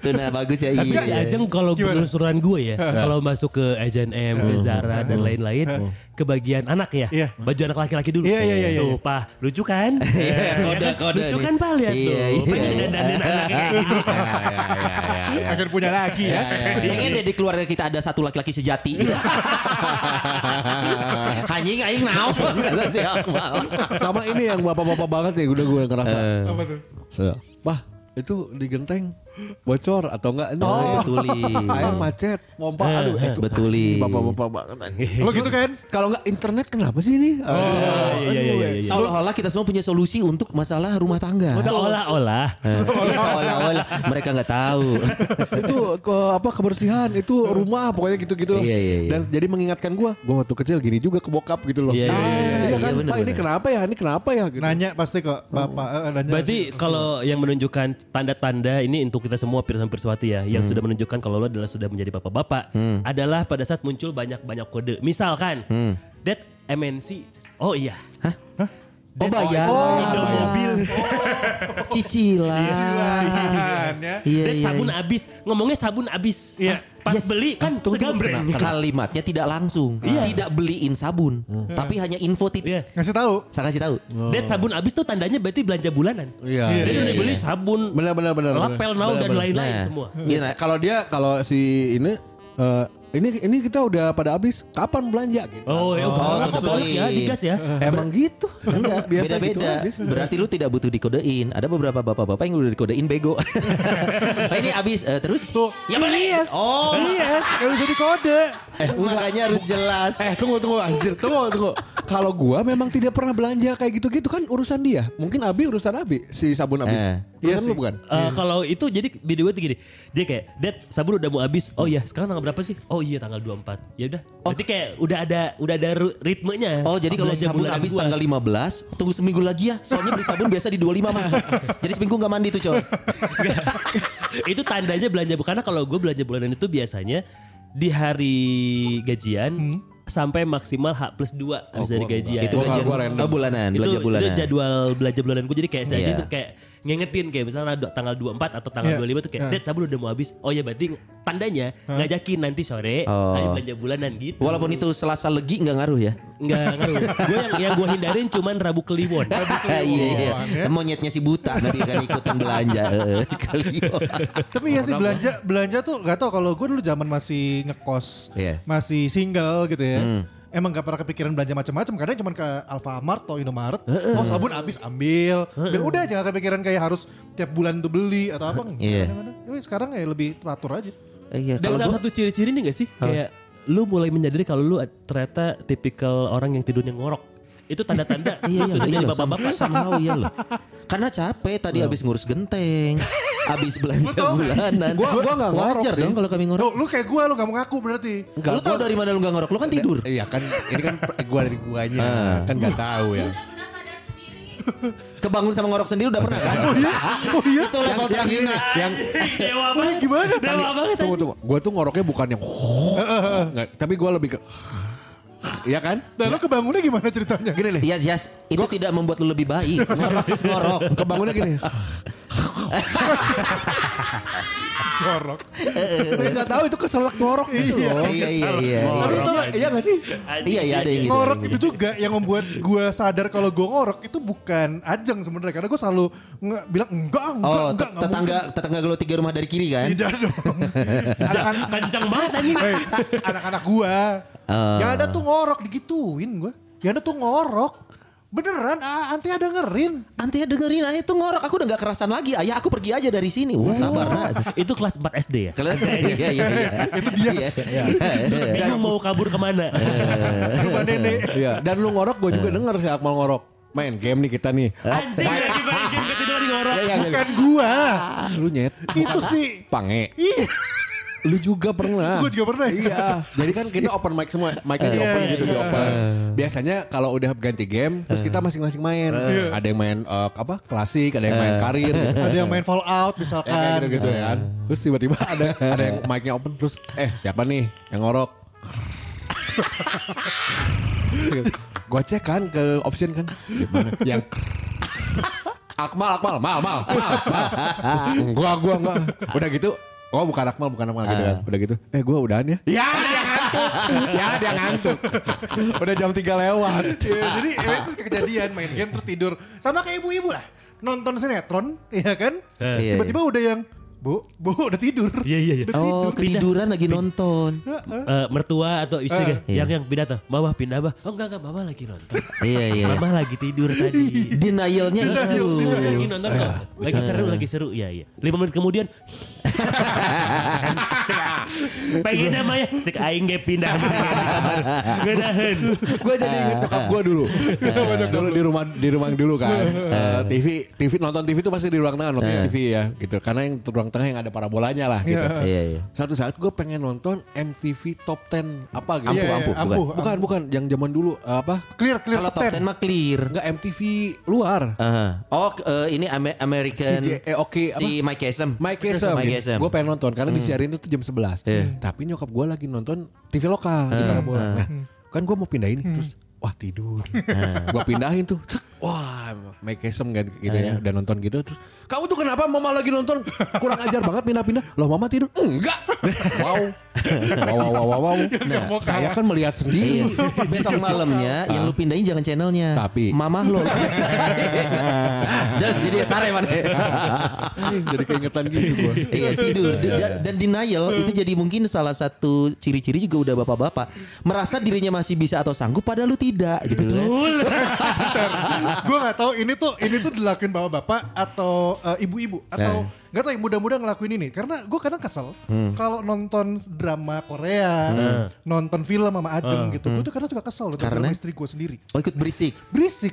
C: tuna bagus ya.
A: Tapi
C: Iya.
A: si Ajeng kalau penelusuran gue ya, kalau masuk ke H&M, ke Zara dan lain-lain, ke bagian anak ya,
B: Iya.
A: baju anak laki-laki dulu.
B: Iya, iya, iya, iya.
A: Tuh, Pak, lucu kan? Iya,
C: kode,
A: kan?
C: kode
A: Lucu
C: nih.
A: kan, Pak, lihat
C: Iya,
A: tuh.
C: iya.
A: Pengen dandanin anaknya kayak gitu. Iya.
B: akan punya lagi ya.
C: Pengen deh di keluarga kita ada satu laki-laki sejati. Anjing aing naon
A: Iya.
C: kata si Akmal.
E: Sama ini yang bapak-bapak banget ya udah gue ngerasa.
B: Apa tuh?
E: So, Wah itu di genteng bocor atau enggak? No.
C: Oh, betuli.
E: Air macet, pompa, aduh itu
C: Betuli.
E: anjing, Bapak-bapak banget. anjing.
B: Lo gitu kan?
E: Kalau enggak internet kenapa sih ini? Oh,
A: Iya, iya, iya, iya.
C: Seolah-olah kita semua punya solusi untuk masalah rumah tangga.
A: Seolah-olah.
C: Iya, Seolah-olah mereka nggak tahu.
E: itu ke, apa kebersihan itu rumah pokoknya gitu-gitu loh.
C: Iya, iya, iya.
E: Dan jadi mengingatkan gua, gua waktu kecil gini juga ke bokap gitu loh.
A: Iya, iya,
E: Ah,
A: iya,
C: iya,
E: kan,
C: iya, bener,
E: Pak ini
C: bener."
E: kenapa ya? Ini kenapa ya gitu.
B: Nanya pasti kok bapak. eh, nanya.
A: Berarti kalau yang menunjukkan tanda-tanda ini untuk kita semua pirsan pirsawati ya, yang sudah menunjukkan kalau lo adalah sudah menjadi bapak-bapak adalah pada saat muncul banyak-banyak kode. Misalkan, that MNC. Oh iya. Hah?
C: Oh, bayar.
A: iya. mobil.
C: Cicilan.
B: Kan, Iya, ya.
C: Iya,
A: Dan
C: iya,
A: sabun abis Ngomongnya sabun abis
B: Iya.
A: Ah, Pas beli kan
C: Tunggu, tunggu,
A: segambreng
C: tunggu. Kalimatnya tidak langsung. Tidak beliin sabun, tapi hanya info titik.
A: Hmm. Iya.
B: Ngasih tahu.
C: Saya kasih tahu.
A: Dan sabun abis tuh tandanya berarti belanja bulanan
E: Iya.
A: Jadi udah beli sabun
E: Benar benar benar. benar.
A: Lapel nau
E: Benar,
A: dan
E: benar.
A: lain-lain
C: Nah,
A: semua
E: Iya, nah, kalau dia kalau si ini eh, ini ini kita udah pada habis kapan belanja gitu.
A: Oh, iya, oh,
C: Oh, Iya. to the
A: oh, ya,
C: point.
A: digas ya.
E: Emang gitu.
C: Enggak,
E: Biasa gitu
C: beda-beda.
E: habis.
C: Berarti lu tidak butuh dikodein. Ada beberapa bapak-bapak yang udah dikodein bego. Nah, ini abis eh, terus?
B: Tuh.
C: Ya beli. Oh,
B: Yes, gak bisa dikode.
C: eh, makanya harus jelas.
E: Eh tunggu tunggu anjir tunggu tunggu Kalau gua memang tidak pernah belanja kayak gitu-gitu kan urusan dia Mungkin Abi urusan Abi si sabun Abi
C: Eh.
E: Iya sih bukan
A: Eh, Kalau itu jadi video gue tuh gini Dia kayak Dad sabun udah mau habis Oh iya sekarang tanggal berapa sih Oh oh iya tanggal 24. Ya udah. Berarti kayak udah ada udah ada ru- ritmenya.
C: Oh jadi kalau
A: 14
C: sabun
A: bulanan
C: habis
A: gua.
C: tanggal 15 Tunggu seminggu lagi ya Soalnya beli sabun biasa di 25 mah Jadi seminggu gak mandi tuh coy
A: itu tandanya belanja karena kalau gue belanja bulanan itu biasanya di hari gajian
C: Hmm.
A: sampai maksimal H plus 2 habis dari gajian.
C: Oh, Itu
E: Gua-
C: gajian
E: gua random.
C: oh, bulanan
A: itu,
C: Belanja bulanan
A: itu jadwal belanja bulanan gue jadi kayak saya
C: Iya.
A: itu kayak ngingetin kayak misalnya do- tanggal 24 atau tanggal
B: Iya.
A: 25 tuh kayak
B: Iya.
A: Dad sabun udah mau habis oh ya berarti tandanya ngajakin nanti sore
C: Oh.
A: ayo belanja bulanan gitu
C: Walaupun itu selasa legi gak ngaruh ya
A: nggak ngaruh gue yang, yang gue hindarin cuman Rabu Kliwon
C: Iya iya
B: ya.
C: Monyetnya si buta nanti akan ikutan belanja Eh, Kali
B: Tapi ya sih belanja belanja tuh gak tau kalau gue dulu zaman masih ngekos,
C: Iya. Hmm.
B: masih single gitu ya. Emang gak pernah kepikiran belanja macam-macam kadang cuma ke Alfamart atau Indomaret. Oh sabun habis ambil. Dan udah aja gak kepikiran kayak harus tiap bulan tuh beli atau apa. Nggak,
C: Iya.
B: kadang-kadang. Tapi sekarang ya lebih teratur aja.
C: Eh, Iya
A: dan
C: kalau
A: salah
C: gua-
A: satu ciri-ciri ini gak sih kayak lu mulai menyadari kalau lu ternyata tipikal orang yang tidurnya ngorok itu tanda-tanda lu
C: Iya, iya,
A: sudah
C: iya,
A: jadi
C: loh,
A: bapak-bapak
C: sama- somehow iya loh. Karena capek tadi habis ngurus genteng, habis belanja bulanan.
E: Gua- gua nggak ngorok
C: Wajar
E: sih.
C: dong kalau kami ngorok.
B: Lu, lu kayak gue lu gak mau ngaku berarti.
C: lu tau dari mana lu gak ngorok? Lu kan tidur.
E: Iya kan ini kan per- gua dari guanya kan nggak tahu ya.
D: udah pernah sadar sendiri
C: Kebangun sama ngorok sendiri udah pernah kan? Oh iya. Oh iya. Itu level
E: Yang- yang
C: terakhir.
E: ini, yang
A: dewa banget gimana dewa banget
E: tunggu tunggu, gua tuh ngoroknya bukan yang Nggak, tapi gua lebih ke Iya kan?
B: Dan lu kebangunnya gimana ceritanya?
E: Gini nih.
C: Yes, yes. Itu tidak membuat lu lebih baik. Ngorok is ngorok.
E: Kebangunnya gini.
B: Jorok.
E: Enggak tahu itu keselak ngorok gitu loh.
C: Iya, iya, iya.
E: Tapi
A: Ngorok.
E: itu iya enggak sih?
C: Iya, iya ada yang gitu.
B: ngorok
C: ada yang
B: itu
C: gitu.
B: juga yang membuat gue sadar kalau gue ngorok itu bukan ajeng sebenarnya karena gue selalu nge- bilang enggak enggak
C: Oh,
B: enggak
C: te-
B: enggak
C: tetangga tetangga lu tiga rumah dari kiri kan?
B: mungkin." tidak dong anak-anak
A: kencang banget anjing
B: Hey, anak-anak gue
C: Ah.
B: yang ada tuh ngorok digituin gue yang ada tuh ngorok beneran ah, anti ada ngerin
C: Nanti ya dengerin ayah itu ngorok, aku udah gak kerasan lagi. Ayah aku pergi aja dari sini. Wah, sabar
E: Oh.
C: aja.
A: itu kelas 4 SD ya
C: Kalian iya iya iya.
B: Itu dia.
C: Iya, iya.
A: kan bingung mau kabur kemana
B: rumah nenek
E: Iya, dan lu ngorok gua juga denger si Akmal ngorok. Main game nih kita nih.
A: anjing lagi main game ketiduran ngorok
E: Iya, iya, iya.
B: bukan gue
E: Ah, lu nyet.
B: itu sih
E: Pange.
B: iya
E: Lu juga pernah.
B: gue juga pernah
E: Iya, jadi kan kita open mic semua, mic-nya di open
A: Iya,
E: gitu di open. Biasanya kalau udah ganti game, terus kita masing-masing main.
A: Iya.
E: Ada yang main eh, apa klasik, ada yang main karir, gitu.
B: ada yang main
E: Ya, kayak
B: fallout misalkan
E: gitu-gitu ya kan. Terus tiba-tiba ada ada yang mic-nya open, terus eh siapa nih yang ngorok? Gue cek kan ke option kan, Di mana? yang Akmal, Akmal, mal, mal, mal, mal. Terus, Gua, gua, gua. Udah gitu, Oh bukan Akmal, bukan Akmal gitu kan. Udah gitu, eh gua udahan ya. Ya dia ngantuk, ya dia ngantuk. Udah jam 3 lewat.
B: Iya, jadi ya, itu kejadian main game terus tidur. Sama kayak ibu-ibu lah. Nonton sinetron, ya kan?
C: iya,
B: Tiba-tiba udah yang Bu, bu udah tidur.
A: Eh. Iya, iya, iya.
B: Udah
C: Oh,
B: tidur.
C: ketiduran lagi nonton.
B: Heeh.
A: Eh, mertua atau istri
B: Eh.
A: kan? yang yang pindah tuh mama pindah bah oh enggak enggak mama lagi nonton
C: Iya iya.
A: mama lagi tidur tadi
C: Denialnya itu.
A: lagi nonton kok lagi seru lagi seru ya ya lima menit kemudian Cek- pengen namanya cek aing ge pindah gedahen
E: gue jadi inget nyokap gue dulu Eh, dulu di rumah di rumah dulu kan Eh, TV TV nonton TV itu pasti di ruang tengah nonton TV ya gitu karena yang ruang tengah yang ada parabolanya lah gitu
C: Iya iya.
E: satu saat gue pengen nonton MTV Top 10 apa gitu
C: Ampuh
B: Iya,
C: ampuh
B: iya,
C: bukan.
B: ampuh.
E: bukan bukan yang zaman dulu eh, apa
B: Clear, clear
C: Kalau top 10 mah clear.
E: enggak MTV luar
C: Ah. Oh, ke- eh, ini Ame- American
E: Si J- eh, oke, apa?
C: si Mike Kesem.
E: Mike Kesem,
C: Mike Kesem.
E: gue pengen nonton karena disiarin itu jam 11 Tapi nyokap gue lagi nonton TV lokal di Parabola. Nah, kan gue mau pindahin terus wah tidur. gue pindahin tuh, cek, wah Mike Kesem kan gitu ya, udah nonton gitu terus. Kamu tuh kenapa mama lagi nonton kurang ajar banget pindah-pindah? Loh mama tidur? Enggak. Wow. wow wow wow wow. wow. Nah,
B: mau
E: saya
B: kalah.
E: kan melihat
C: Iya.
E: sendiri.
C: Besok malamnya yang lu pindahin jangan channelnya.
E: Tapi-
C: mamah lo. Das jadi sare man.
E: Anjing, Jadi keingetan gitu gue.
C: Iya tidur dan, dan denial itu jadi mungkin salah satu ciri-ciri juga udah bapak-bapak merasa dirinya masih bisa atau sanggup padahal lu tidak gitu loh.
B: gue gak tahu ini tuh ini tuh dilakuin bapak-bapak atau eh, ibu-ibu atau nggak tahu yang muda-muda ngelakuin ini karena gue kadang kesel kalau nonton drama Korea, nonton film sama Ajeng gitu. Gue tuh kadang suka kesel dengan
C: Karena?
B: drama istri gue sendiri.
C: Oh ikut berisik.
B: Berisik.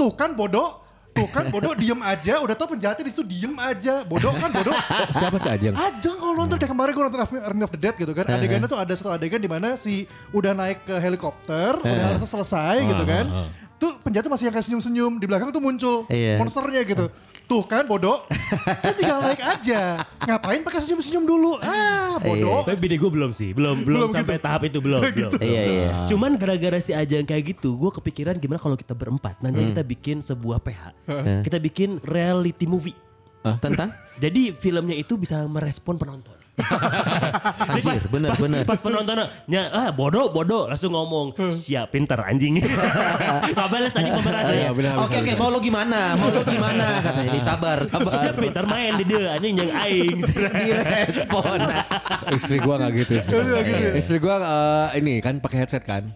B: Tuh kan bodoh. Tuh kan bodoh diem aja, udah tau penjahatnya di situ diem aja. Bodoh kan bodoh.
E: Siapa sih Ajeng?
B: Ajeng kalau nonton kayak kemarin gue nonton Army of the Dead gitu kan. Adegannya tuh ada satu adegan di mana si udah naik ke helikopter, udah harusnya selesai gitu kan. Tuh penjahatnya masih yang kayak senyum-senyum di belakang tuh muncul
C: Iya.
B: monsternya gitu. Tuh kan bodoh. Dia tinggal naik aja. Ngapain pakai senyum-senyum dulu? Ah,
E: Iya.
B: bodoh.
A: Tapi bini gue belum sih, belum belum,
B: Belum
A: sampai
B: gitu.
A: tahap itu belum.
B: Belum
A: belum.
B: gitu.
A: belum.
C: Iya, iya.
A: Cuman gara-gara si Ajang kayak gitu, gue kepikiran gimana kalau kita berempat nanti
C: Hmm.
A: kita bikin sebuah PH, kita bikin reality movie.
C: Tentang?
A: Jadi filmnya itu bisa merespon penonton. Jadi
C: Anjir, bener,
A: pas,
C: bener.
A: Pas penontonnya, ah bodoh, bodoh, langsung ngomong, siap, pinter anjing. Gak bales anjing pemerannya.
E: Iya, benar,
C: Oke
E: benar,
C: oke mau lo gimana? Mau lo gimana? Katanya "Ih, sabar
A: Siap,
C: sabar.
A: pinter main di dia, anjing yang aing.
C: Direspon. Nah,
E: Istri gua nggak gitu sih. Istri gua eh, ini kan pakai headset kan.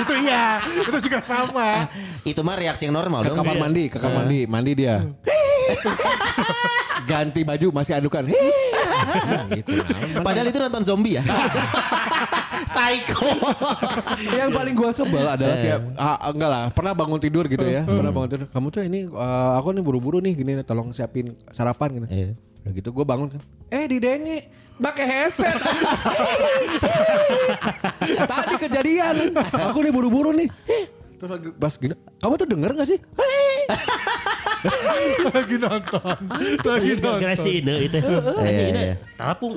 B: itu iya, itu juga sama.
C: Itu mah reaksi yang normal dong.
E: Ke kamar mandi, ke kamar mandi, mandi dia. Ganti baju masih adukan. Gitu, nah.
C: Padahal itu nonton zombie ya. Psycho.
E: yang paling gua sebel adalah tiap ah, enggak lah pernah bangun tidur gitu ya pernah bangun tidur kamu tuh ini eh, aku nih buru-buru nih gini tolong siapin sarapan gitu
C: Iya.
E: udah gitu gua bangun kan eh didenge pakai headset tadi kejadian aku nih buru-buru nih terus lagi pas gini kamu tuh denger gak sih
B: Lagi nonton. Lagi
A: Gara-gara
B: nonton.
A: si Ine eh, itu.
C: Iya,
A: Anjing Ine,
C: iya.
A: talapung.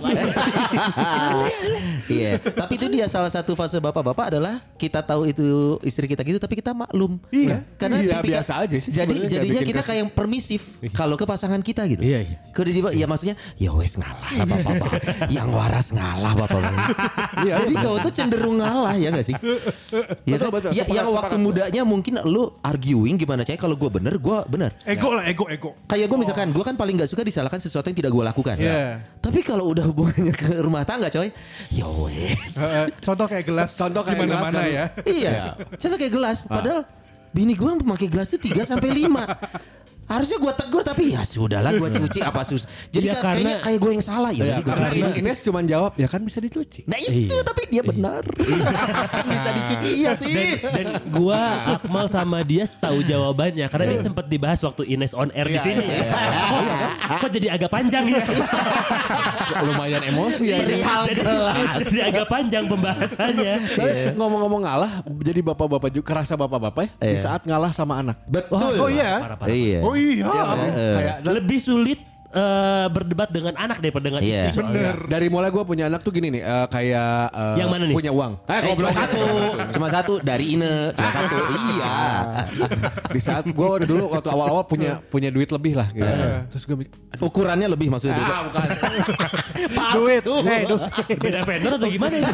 C: Iya. Tapi itu dia salah satu fase bapak-bapak adalah kita tahu itu istri kita gitu tapi kita maklum.
B: Iya.
C: Karena
E: Iya,
C: tipikal-
E: biasa aja sih
C: Jadi
E: sebenarnya,
C: jadinya
E: nggak
C: kita
E: bikin Iya.
C: kayak yang permisif kalau ke pasangan kita gitu.
A: Iya, iya.
C: Kalau tiba ya maksudnya ya wes ngalah bapak-bapak. yang waras ngalah bapak-bapak.
E: Iya,
C: Jadi cowok tuh cenderung ngalah ya gak sih? Ya, kan?
E: Betul, betul.
C: Ya,
E: Sepakat,
C: yang waktu
E: sepakat.
C: mudanya mungkin lu arguing gimana caranya kalau gue bener gue bener.
B: Ego lah, ego, ego.
C: Kayak gue
E: Oh.
C: misalkan, gue kan paling gak suka disalahkan sesuatu yang tidak gue lakukan.
B: Iya.
C: Tapi kalau udah hubungannya ke rumah tangga coy, ya wes.
B: Eh, contoh kayak gelas.
E: Contoh kayak
B: dimana mana
E: gelas
B: ya.
E: kan.
C: iya. Contoh kayak gelas, padahal bini gue memakai gelas itu 3 sampai 5. Harusnya gue tegur tapi ya sudahlah gue cuci apa sus. Jadi
A: Iya,
C: ka- kayaknya
A: karena-
C: kayak gue yang salah ya.
E: ya,
C: jadi gua
E: karena
C: cuci.
E: Ines cuma jawab ya kan bisa dicuci
C: Nah itu tapi dia benar. Bisa dicuci iya sih.
A: Dan gua Akmal sama dia tahu jawabannya karena ini sempat dibahas waktu Ines on air di sini. Kok, kok jadi agak panjang ya?
E: lumayan emosi ya ini.
C: iya. Perihal
A: Jadi-
C: gelas.
A: jadi agak panjang pembahasannya.
E: Tapi ngomong-ngomong ngalah jadi bapak-bapak juga kerasa bapak-bapak ya di
C: Iya.
E: saat ngalah sama anak
C: Betul.
B: Oh iya.
A: Parah, parah.
C: Iya.
B: Oh iya.
E: Iya nggak sih? kayak
A: Lebih sulit eh, berdebat dengan anak daripada dengan
C: Iya.
A: istri. soalnya.
B: Bener.
E: Dari mulai gue punya anak tuh gini nih, eh, kayak eh,
A: Yang mana nih?
E: punya uang. Eh,
C: Eh, cuma
E: goblok.
C: satu, cuma satu dari Ine, cuma satu. Iya.
E: Di saat gue dulu waktu awal-awal punya punya duit lebih lah. Gitu. Terus gue mikir,
C: Ukurannya lebih maksudnya.
E: ah bukan.
B: Duit. Eh, duit.
A: Beda vendor atau gimana ya?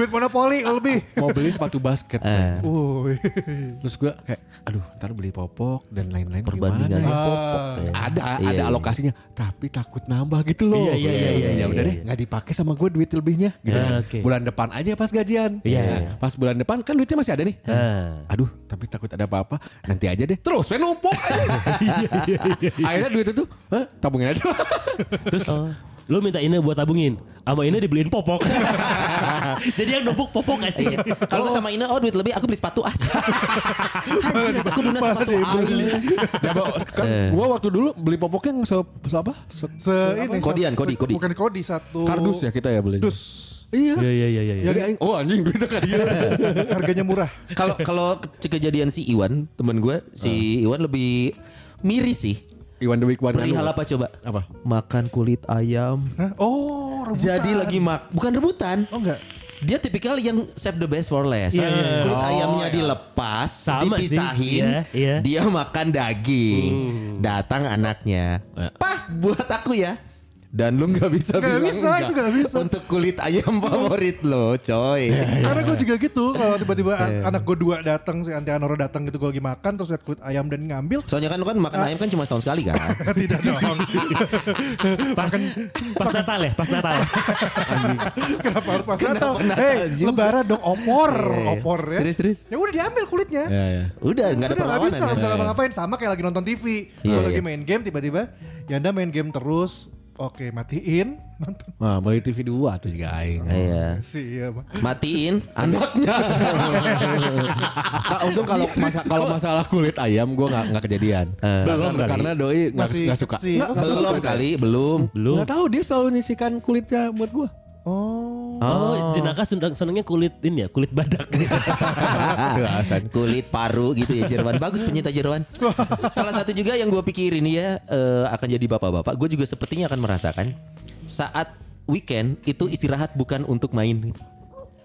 B: duit monopoli lebih.
E: Mau beli sepatu basket.
C: Eh.
B: Wuih.
E: Terus gue kayak, aduh ntar beli popok dan lain-lain gimana
C: Perbandingannya
E: ya?
C: popok. ya.
E: Ada,
C: Iya,
E: ada
C: iya.
E: alokasinya. Tapi takut nambah gitu loh.
A: Iya, iya, iya, iya,
E: Ya udah
C: iya,
E: deh, nggak dipakai sama gue duit lebihnya. Gitu
A: Ah,
E: kan.
A: oke.
E: Bulan depan aja pas gajian.
A: Iya,
E: Nah,
A: iya.
E: Pas bulan depan kan duitnya masih ada nih.
A: Ah.
E: aduh tapi takut ada apa-apa nanti aja deh terus saya numpuk Iya, akhirnya duit itu "Hah, tabungin aja
A: Terus lu minta Ine buat tabungin, sama Ine dibeliin popok. Jadi yang numpuk popok aja.
C: Iya. Kalau sama Ina, oh duit lebih, aku beli sepatu aja. Anjir, aku guna sepatu aja.
E: ya, Bang, kan gua waktu dulu beli popoknya yang se, se apa se,
B: Se ini.
C: Kodian,
B: se-
C: kodi,
B: se-
C: kodi.
B: Bukan kodi satu.
E: kardus ya kita ya belinya
B: Dus.
E: iya
A: Iya iya iya iya.
E: Jadi aing, oh anjing duitnya kan dia
B: Harganya murah.
C: Kalau kalau ke- kejadian si Iwan, teman gue, si Iwan lebih miris sih.
E: Iwan the Week One
C: Perihal
E: anu.
C: apa coba?
E: Apa?
C: Makan kulit ayam.
B: Hah? Oh, rebutan.
C: Jadi lagi mak, bukan rebutan.
B: Oh enggak.
C: Dia tipikal yang save the best for last.
B: Iya, iya,
C: Kulit
E: Oh,
C: ayamnya
E: iya.
C: dilepas,
A: Sama sih.
C: dipisahin,
A: Iya, iya.
C: dia makan daging. Datang anaknya, pah buat aku ya. Eh. Dan lu nggak bisa
B: Nggak
C: bilang
B: bisa, itu nggak bisa.
C: Untuk kulit ayam favorit lo, coy.
B: Karena gue juga gitu kalau tiba-tiba an- anak gue dua datang si Anti Anoro datang gitu gue lagi makan terus liat kulit ayam dan ngambil
C: Soalnya kan lu kan makan ayam kan cuma setahun sekali kan.
B: tidak dong.
A: Pas, pas Natal ya, pas Natal.
B: Kenapa harus pas Natal?
C: Kenapa Natal,
B: Hei,
C: Jim?
B: lebaran dong omor,
C: Iya.
B: opor ya.
C: Terus, terus. Iya.
B: Ya udah diambil kulitnya.
E: ya ya
C: Udah nggak ada
B: Udah,
C: perlawanan.
B: bisa, nggak bisa
C: ya.
B: ngapa-ngapain. Sama kayak lagi nonton TV.
C: Iya,
B: Kalau lagi
C: iya.
B: main game tiba-tiba, ya anda main game terus. Oke, matiin nonton
E: Nah, beli TV dua tuh juga aing.
C: Iya.
B: sih ya, Bang.
C: Matiin anaknya.
E: Nah, untung kalau masa- kalau masalah kulit ayam gue nggak nggak kejadian. belum
A: Belum
E: Eh, karena doi nggak
B: Masih
E: nggak suka.
B: kecil.
E: Nggak, nggak suka.
C: belum kali, belum.
A: Belum.
E: Nggak tahu dia selalu nyisikan kulitnya buat gue.
B: Oh.
A: Oh, jenaka seneng- senengnya kulit ini ya, kulit badak.
E: Alasan.
C: kulit paru gitu ya Jerwan bagus penyita Jerwan salah satu juga yang gue pikirin ya eh, akan jadi bapak-bapak gue juga sepertinya akan merasakan saat weekend itu istirahat bukan untuk main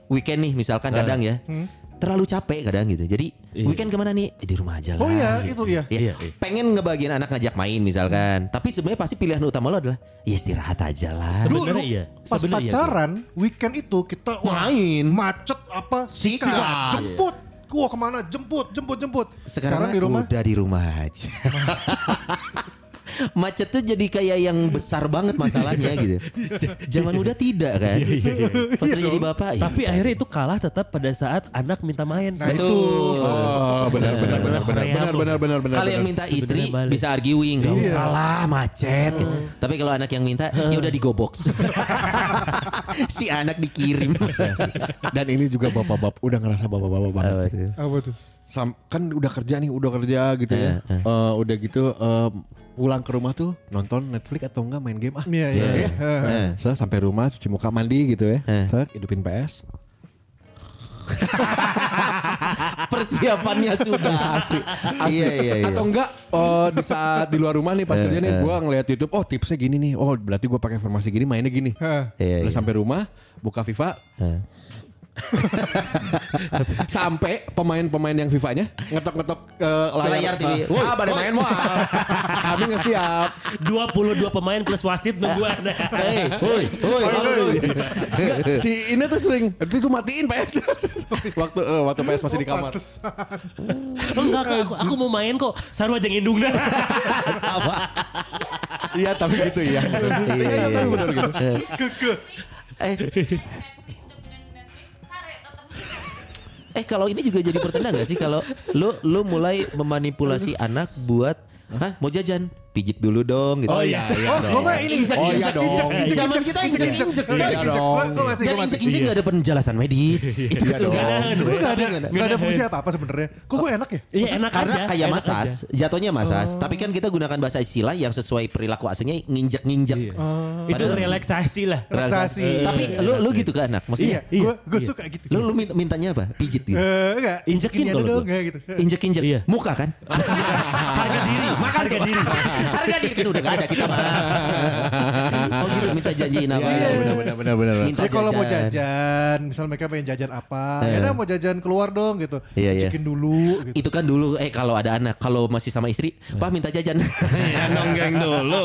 C: weekend nih misalkan
B: Nah.
C: kadang ya
B: Hmm.
C: terlalu capek kadang gitu jadi weekend kemana nih Eh, di rumah aja lah
B: Iya. Oh iya,
C: gitu.
B: itu iya.
A: Iya, iya.
C: pengen ngebagian anak ngajak main misalkan tapi sebenarnya pasti pilihan utama lo adalah ya istirahat aja lah
A: Sebenarnya
B: Dulu
A: iya.
B: pas
A: Sebenarnya iya,
B: pacaran weekend itu kita wah,
C: Main.
B: macet apa sikat,
C: Sikat.
B: jemput Wah kemana jemput jemput jemput
C: Sekarang,
B: di rumah
C: udah di rumah aja. Macet tuh jadi kayak yang besar banget masalahnya gitu. Zaman muda tidak kan. Pas udah jadi bapak. ya.
A: Tapi akhirnya itu kalah tetap pada saat anak minta main.
B: Nah
A: Sebenarnya.
B: itu
E: Oh, benar benar benar benar benar benar benar benar.
C: Kalau yang minta istri
A: Sebenarnya balik.
C: bisa arguing, gak usah lah macet. Tapi kalau anak yang minta, ya udah digobok. si anak dikirim.
E: Dan ini juga bapak-bapak udah ngerasa bapak-bapak banget.
B: Apa tuh?
E: Sam, kan udah kerja nih, udah kerja gitu ya. Eh, udah gitu eh, pulang ke rumah tuh nonton Netflix atau enggak main game ah.
B: Iya iya iya.
E: Eh, setelah sampai rumah cuci muka mandi gitu ya.
C: Eh.
E: Setelah hidupin PS.
C: Persiapannya sudah. Iya iya iya. Eh,
E: Atau enggak eh, di saat di luar rumah nih pas kerja nih gua ngeliat YouTube, oh tipsnya gini nih. Oh, berarti gua pakai formasi gini mainnya gini.
B: Heeh.
C: Iya,
E: Udah
C: iya.
E: sampai rumah buka FIFA
C: Eh.
E: sampai pemain-pemain yang FIFA-nya ngetok-ngetok ke layar,
C: layar TV.
E: eh, "Woi,
C: Ah, pada
E: woi,
C: main, wah."
E: Kami nggak siap.
A: 22 pemain plus wasit nunggu ada.
C: Hey, woi, woi,
E: Nggak, si ini tuh sering itu tuh matiin PS waktu eh, waktu PS masih di kamar
B: Pantesan.
A: Oh, enggak, aku, aku, aku mau main kok. Sarwa jeng indung dah.
E: iya tapi gitu
C: Iya,
E: ya
C: iya, iya.
B: gitu.
C: Eh. Eh, eh kalau ini juga jadi pertanda gak sih kalau lu lu mulai memanipulasi anak buat Hah mau jajan pijit dulu dong gitu.
A: Oh, iya, iya
B: Oh, gue mah ini injek,
E: Oh, iya
B: injek,
E: dong.
B: injek, injek,
C: Zaman
B: injek,
C: kita
B: injek,
C: injek,
B: injek,
E: injek.
B: injek, injek. Gua- gua masih,
C: Dan
B: gua masih.
C: injek-injek gak ada penjelasan medis. Itu
E: Iya
C: betul
E: dong.
C: kan?
B: Itu gak ada,
C: Nggak ada.
B: gak ada fungsi apa-apa sebenarnya. Kok gue enak ya?
A: Iya enak
C: Karena
A: aja.
C: kayak
A: enak
C: masas,
A: aja. Oh.
C: jatuhnya masas. Tapi kan kita gunakan bahasa istilah yang sesuai perilaku aslinya nginjek-nginjek.
A: Iya. Itu
C: Oh. Padahal-
A: relaksasi lah.
B: Relaksasi.
C: Tapi lu lu gitu ke anak,
B: Iya,
A: Iya,
C: maksudnya?
B: gue gue
A: iya.
B: suka gitu.
C: Lu lu min- mintanya apa? Pijit gitu.
B: Eh, enggak,
A: Injekin
B: gini aja
A: kalau
B: dong,
A: gua.
B: enggak gitu.
C: Injek-injek
A: Iya.
C: muka kan?
A: Harga diri. Harga diri.
C: Harga diri kan udah gak ada kita mah. Oh gitu minta janjiin apa?
E: Iya, benar benar benar
C: Minta
B: Jadi kalau mau jajan, misal mereka pengen jajan apa, ya udah mau jajan keluar dong gitu.
C: Iya, iya.
B: Injekin dulu gitu.
C: Itu kan dulu eh kalau ada anak, kalau masih sama istri, Pak minta jajan. Ya nonggeng dulu.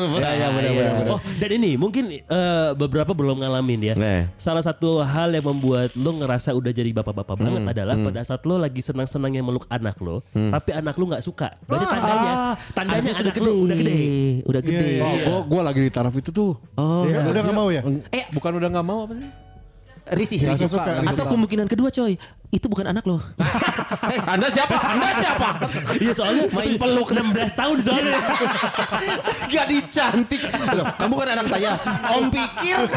C: Iya iya benar benar. benar.
A: Oh dan ini mungkin eh, beberapa belum ngalamin ya.
C: Nah.
A: Salah satu hal yang membuat lo ngerasa udah jadi bapak-bapak
C: Hmm,
A: banget adalah pada saat lo lagi senang-senangnya meluk anak lo,
C: Hmm.
A: tapi anak lo nggak suka. Berarti
C: Ah,
A: tandanya, tandanya anak lo udah gede.
C: Udah gede. Iya,
E: oh gua gua lagi di taraf itu tuh
C: Oh.
B: Ya, udah gak mau ya?
E: eh bukan udah nggak mau apa sih
C: Risih,
E: Nggak
C: risih.
E: suka, nggak
C: Atau
E: suka.
C: kemungkinan kedua coy, itu bukan anak lo. Eh, anda siapa? Anda siapa?
A: Iya soalnya
C: Main peluk.
A: 16 tahun soalnya.
C: Gadis cantik. Loh, kamu kan anak saya. Om pikir.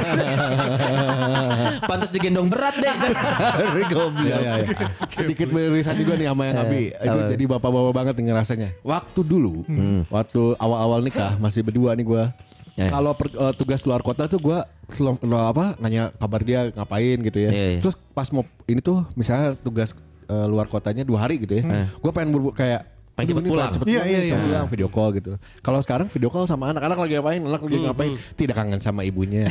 C: Pantas digendong berat deh.
E: Iya, iya, iya. Sedikit beririsan juga nih sama yang Abi.
C: Iya.
E: Itu jadi bapak-bapak banget nih ngerasanya. Waktu dulu,
C: Hmm.
E: waktu awal-awal nikah masih berdua nih gua.
C: Iya.
E: Kalau per- eh, tugas luar kota tuh gua sel- no, apa nanya kabar dia ngapain gitu ya.
C: Iya, iya.
E: Terus pas mau ini tuh misalnya tugas eh, luar kotanya dua hari gitu ya. Gua pengen buru kayak
C: Hmm. Pengen
E: "Aduh,
C: cepet
E: ini
C: pulang."
E: cepet
B: Iya, iya,
E: nih,
B: iya.
E: cepet pulang, video call gitu. Kalau sekarang video call sama anak-anak lagi ngapain, anak lagi
B: Hmm,
E: ngapain, tidak kangen sama ibunya.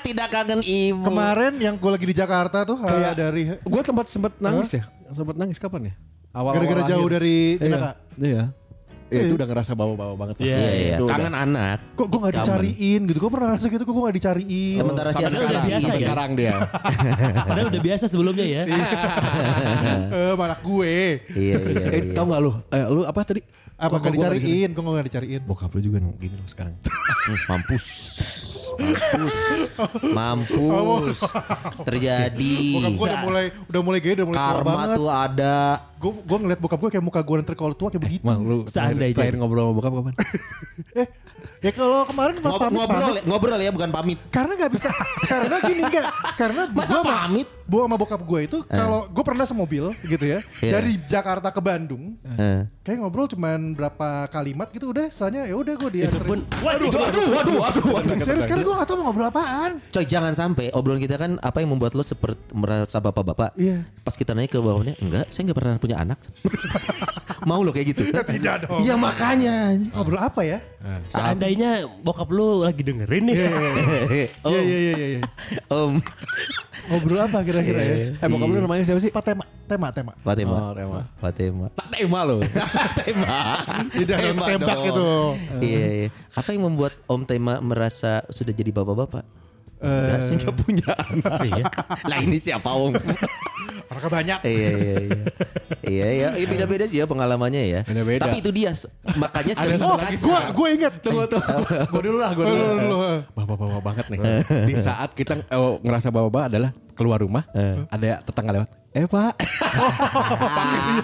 C: Tidak kangen ibu.
B: Kemarin yang gue lagi di Jakarta tuh eh,
E: Kayak-
B: dari
E: Gue tempat sempet nangis ya, sempet nangis kapan ya? Awal-awal
B: gara-gara
E: lahir.
B: jauh dari
E: Iya.
B: jenaka.
E: Iya. Ya, itu udah ngerasa bawa-bawa banget. lah.
A: Iya,
C: Iya, iya.
E: Itu
C: Kangen anak.
B: Kok gue gak
C: Kangen.
B: dicariin gitu? Gue pernah ngerasa gitu, kok gue gak dicariin?
C: Sementara si
E: Sampai
C: Iya. anak iya.
A: udah
E: sekarang,
A: biasa
E: sampai
A: ya?
E: sekarang dia.
A: Padahal udah biasa sebelumnya ya.
B: Eh, malah gue.
C: Iya, iya,
E: eh,
C: iya.
E: tau gak lu? Eh, lu apa tadi? Kok
B: Apa kan gak
E: gua
B: dicariin? Kok gak dicariin?
E: Bokap lu juga gini loh sekarang.
C: Hmm, Mampus. Mampus. Mampus. Terjadi.
B: Bokap gue udah mulai udah mulai gede, udah mulai tua
C: Karma
B: banget.
C: tuh ada.
B: Gue gue ngeliat bokap gue kayak muka gue nanti kalau tua kayak begitu.
E: Mang lu
A: Seandainya.
E: terakhir ngobrol sama bokap kapan?
B: Eh, Ya kalau kemarin pas
C: Ngob-
B: pamit,
C: ngobrol
B: pamit.
C: ya, ngobrol ya bukan pamit.
B: Karena nggak bisa, karena gini nggak, karena
C: Masa
B: gua-
C: pamit? Eh.
B: Gue sama bokap gue itu kalau gue pernah semobil gitu ya
C: Iya.
B: dari Jakarta ke Bandung,
C: Eh.
B: kayak ngobrol cuman berapa kalimat gitu udah, soalnya ya udah gue
A: Itu
B: dianterin.
A: pun waduh waduh
C: waduh, waduh,
B: Serius karena gue gak tau mau ngobrol apaan.
C: Coy jangan sampai obrolan kita kan apa yang membuat lo seperti merasa bapak-bapak.
B: Iya.
C: Pas kita nanya ke bapaknya, enggak, saya enggak pernah punya anak. Mau lo kayak gitu?
B: Tidak dong.
C: Iya makanya.
B: Ngobrol apa ya?
A: Seandainya bokap lu lagi dengerin nih.
C: Om,
B: Iya iya iya iya. iya.
C: om,
B: Ngobrol apa kira-kira
C: Iya,
B: ya?
E: Eh bokap lu namanya siapa sih?
B: Apa tema? Tema tema.
C: Fatema,
E: Oh, Tema.
C: Fatema.
E: Tak tema lo.
C: Iya, Tema.
B: Tidak dong, Eh, tembak gitu. itu.
C: Iya, iya. Apa yang membuat Om Tema merasa sudah jadi bapak-bapak? Enggak, saya enggak punya anak. lah ini siapa Om?
B: Orangnya banyak.
C: iya, iya, iya. Iya, iya. Iya, beda-beda sih ya pengalamannya ya.
E: Beda-beda.
C: Tapi itu dia. s- Makanya sering
B: Oh,
E: kan?
C: banget-
B: gue gue inget. Tunggu tunggu.
E: Gue dulu lah, gue dulu. Bapak-bapak banget nih. Di saat kita eh, ngerasa bapak-bapak adalah keluar rumah, ada tetangga lewat. Eh pak,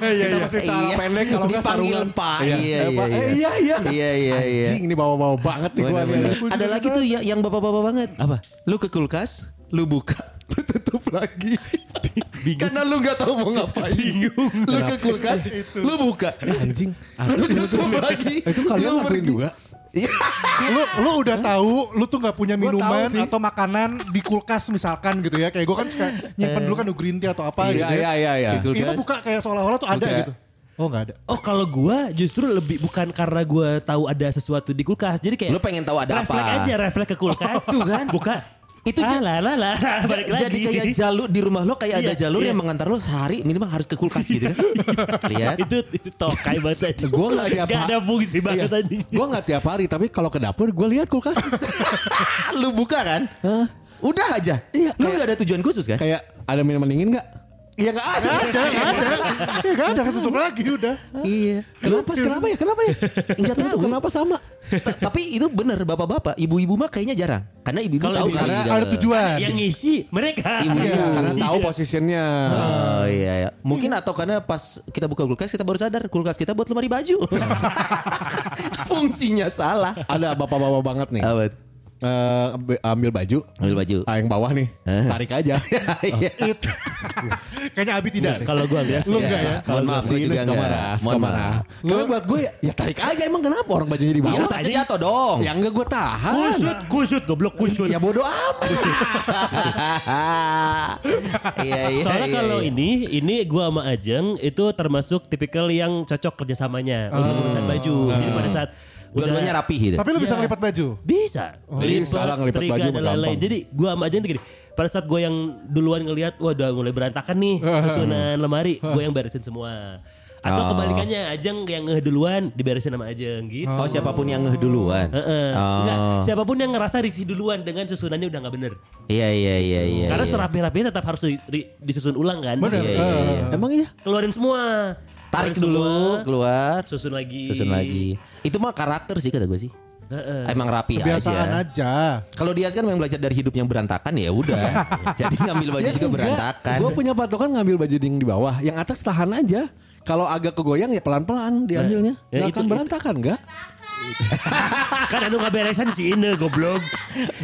B: Iya iya
E: kita
B: iya.
E: masih salah
C: Iya.
E: pendek kalau nggak
C: Dipanggil
E: sarungan.
C: Pak.
E: Iya,
C: Iya,
E: eh, Pak.
C: iya,
E: Eh,
C: iya.
E: iya, iya.
C: Iya, iya, iya.
E: Anjing, ini bawa-bawa banget nih gue.
C: Bener-bener. Ada lagi tuh ya- yang bapak-bapak banget.
A: Apa?
C: Lu ke kulkas, lu buka, lu tutup lagi. Karena lu nggak tahu mau ngapain. Lu ke kulkas, lu buka,
E: Anjing.
C: lu tutup lagi.
E: Eh, Itu kalian
C: Lu
E: lakuin
C: pergi.
E: juga?
C: Iya.
B: Lu lu udah tahu lu tuh nggak punya
E: Gua tahu
B: minuman
E: sih.
B: atau makanan di kulkas misalkan gitu ya. Kayak gue kan suka nyimpen dulu kan green tea atau apa gitu.
E: Iya, iya,
B: ya.
E: iya. iya.
C: Itu-
B: Itu
C: Kulkas.
B: buka kayak seolah-olah tuh ada
E: Buka.
B: gitu. Oh nggak ada.
A: Oh kalau gua justru lebih bukan karena gua tahu ada sesuatu di kulkas. Jadi kayak
C: Lu pengen tahu ada
A: reflek
C: apa.
A: aja refleks ke kulkas.
C: Tuh kan.
A: Buka.
C: Itu
A: ah,
C: ja-
A: lah, lah, lah. Balik lagi.
C: Jadi kayak jalur di rumah lo kayak ada
A: Iya,
C: jalur
A: iya.
C: yang mengantar lo sehari minimal harus ke kulkas gitu kan. Lihat.
A: itu itu tokai banget aja.
E: Gua nggak Iya. tiap
A: Nggak ada fungsi banget tadi.
C: Iya.
E: Gue nggak tiap hari, tapi kalau ke dapur gue lihat kulkas.
C: lu buka kan? Udah aja.
E: Iya,
C: Lu nggak ada tujuan khusus kan?
E: Kayak ada minuman dingin nggak?
C: Iya nggak ada.
B: Ya nggak ada ketutup lagi udah.
C: Iya.
E: Kenapa? Kenapa ya? Kenapa ya?
C: Enggak
E: Itu
C: tahu.
E: kenapa sama?
C: Ta- Tapi itu bener bapak-bapak, ibu-ibu mah kayaknya jarang. Karena ibu-ibu
A: Kalau
C: tahu kan.
A: ibu-ibu
C: kali
B: Karena
C: jalan.
B: ada tujuan.
A: Yang ngisi mereka.
C: Ibu-
E: Iya,
C: Iya.
E: karena tahu posisinya.
C: Oh iya, iya. Mungkin atau karena pas kita buka kulkas kita baru sadar kulkas kita buat lemari baju. Fungsinya salah.
E: Ada bapak-bapak banget nih.
C: Apa?
E: Eh, ambil- ambil baju.
C: Iya. Ambil baju. Eh.
E: Ah, yang bawah nih. Tarik aja.
C: Iya.
B: Itu. Kayaknya Abi tidak. deh.
A: Kalau gua biasa.
B: Lu nggak ya?
C: Mohon maaf, gue
E: Ini
C: juga
E: suka
C: enggak.
E: marah, suka
C: Mohon
E: marah.
C: maaf.
E: Karena buat gue ya, ya tarik aja emang kenapa orang bajunya di
C: Iya,
E: bawah?
C: pasti jatuh dong.
E: Ya enggak gue tahan.
A: Kusut, kusut, goblok kusut.
E: Ya bodoh amat.
C: Iya, iya.
A: Soalnya
C: iya,
A: kalau
C: iya.
A: ini, ini gua sama Ajeng itu termasuk tipikal yang cocok kerjasamanya untuk urusan baju. Jadi pada saat
C: dua-duanya rapi gitu.
B: Tapi lu bisa
A: Iya.
B: ngelipat baju.
A: Bisa.
E: Bisa lah ngelipat
A: setrika,
E: baju mah
A: dan lain-lain.
E: gampang.
A: Jadi gua sama aja gini. Pada saat gua yang duluan ngelihat wah udah mulai berantakan nih susunan lemari, gua yang beresin semua. Atau
C: Oh.
A: kebalikannya Ajeng yang ngeh duluan diberesin sama Ajeng gitu.
C: Oh siapapun yang ngeh duluan.
A: Heeh. Enggak,
C: Oh.
A: siapapun yang ngerasa risih duluan dengan susunannya udah nggak bener.
C: Iya iya iya iya.
A: Karena
C: iya.
A: serapi-rapinya tetap harus di- di- disusun ulang kan.
B: Bener.
A: Iya.
C: iya,
B: Eh,
C: iya.
E: Emang iya?
A: Keluarin semua.
C: Tarik
A: Keluarin semua.
C: dulu keluar,
A: susun lagi.
C: susun lagi. Itu mah karakter sih kata gue sih.
A: Heeh.
C: Emang rapi
B: Kebiasaan
C: aja.
B: aja.
C: Kalau dia kan memang belajar dari hidup yang berantakan ya udah. Jadi ngambil baju juga berantakan.
E: Gue Iya punya patokan ngambil baju ding di bawah. Yang atas tahan aja. Kalau agak kegoyang ya pelan-pelan diambilnya.
A: Nah, ya
E: Nggak
A: itu-
E: akan
A: itu-
E: berantakan enggak?
A: kan anu ngaberesan sih ini goblok.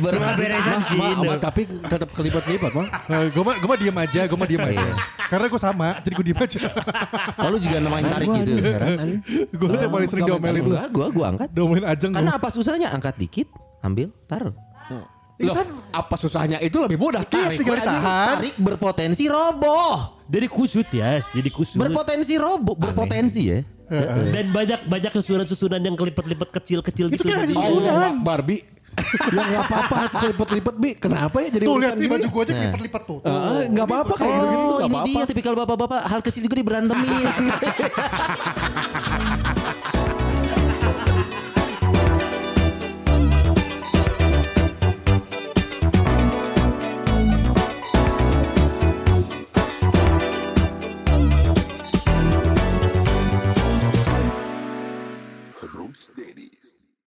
C: Berantakan.
A: Ngaberesan sih
E: Ma,
A: ini.
E: ma, tapi tetap kelipat-kelipat mah.
B: gue Eh, mah gue mah diem aja, gue mah diem
C: Iya.
B: aja. Karena gue sama, jadi gue diem aja.
C: Kalau Oh, juga namanya tarik gitu.
B: gue udah paling sering diomelin lu.
C: Enggak, gua gua angkat.
B: Diomelin ajeng
C: Karena apa susahnya angkat dikit, ambil, taruh.
E: Loh, apa susahnya itu lebih mudah tarik.
B: tinggal
E: Wah,
B: ditahan.
C: Tarik berpotensi roboh.
A: Jadi kusut ya, jadi kusut.
C: Berpotensi roboh, berpotensi ya.
A: Dan banyak banyak susunan-susunan yang kelipat-lipat kecil-kecil
B: Itu
A: gitu.
B: kan hanya
A: Oh,
B: susun.
E: Allah Akbar Bi Ya gak apa-apa Kelipet-lipet Bi Kenapa ya jadi
B: Tuh
E: urusan
B: lihat nih
E: gini?
B: baju gue aja kelipet-lipet tuh.
E: Eh, eh, Gak apa-apa kayak gitu-gitu
C: Oh,
E: Gak
C: ini
E: apa-apa
C: dia tipikal bapak-bapak hal kecil juga diberantemin.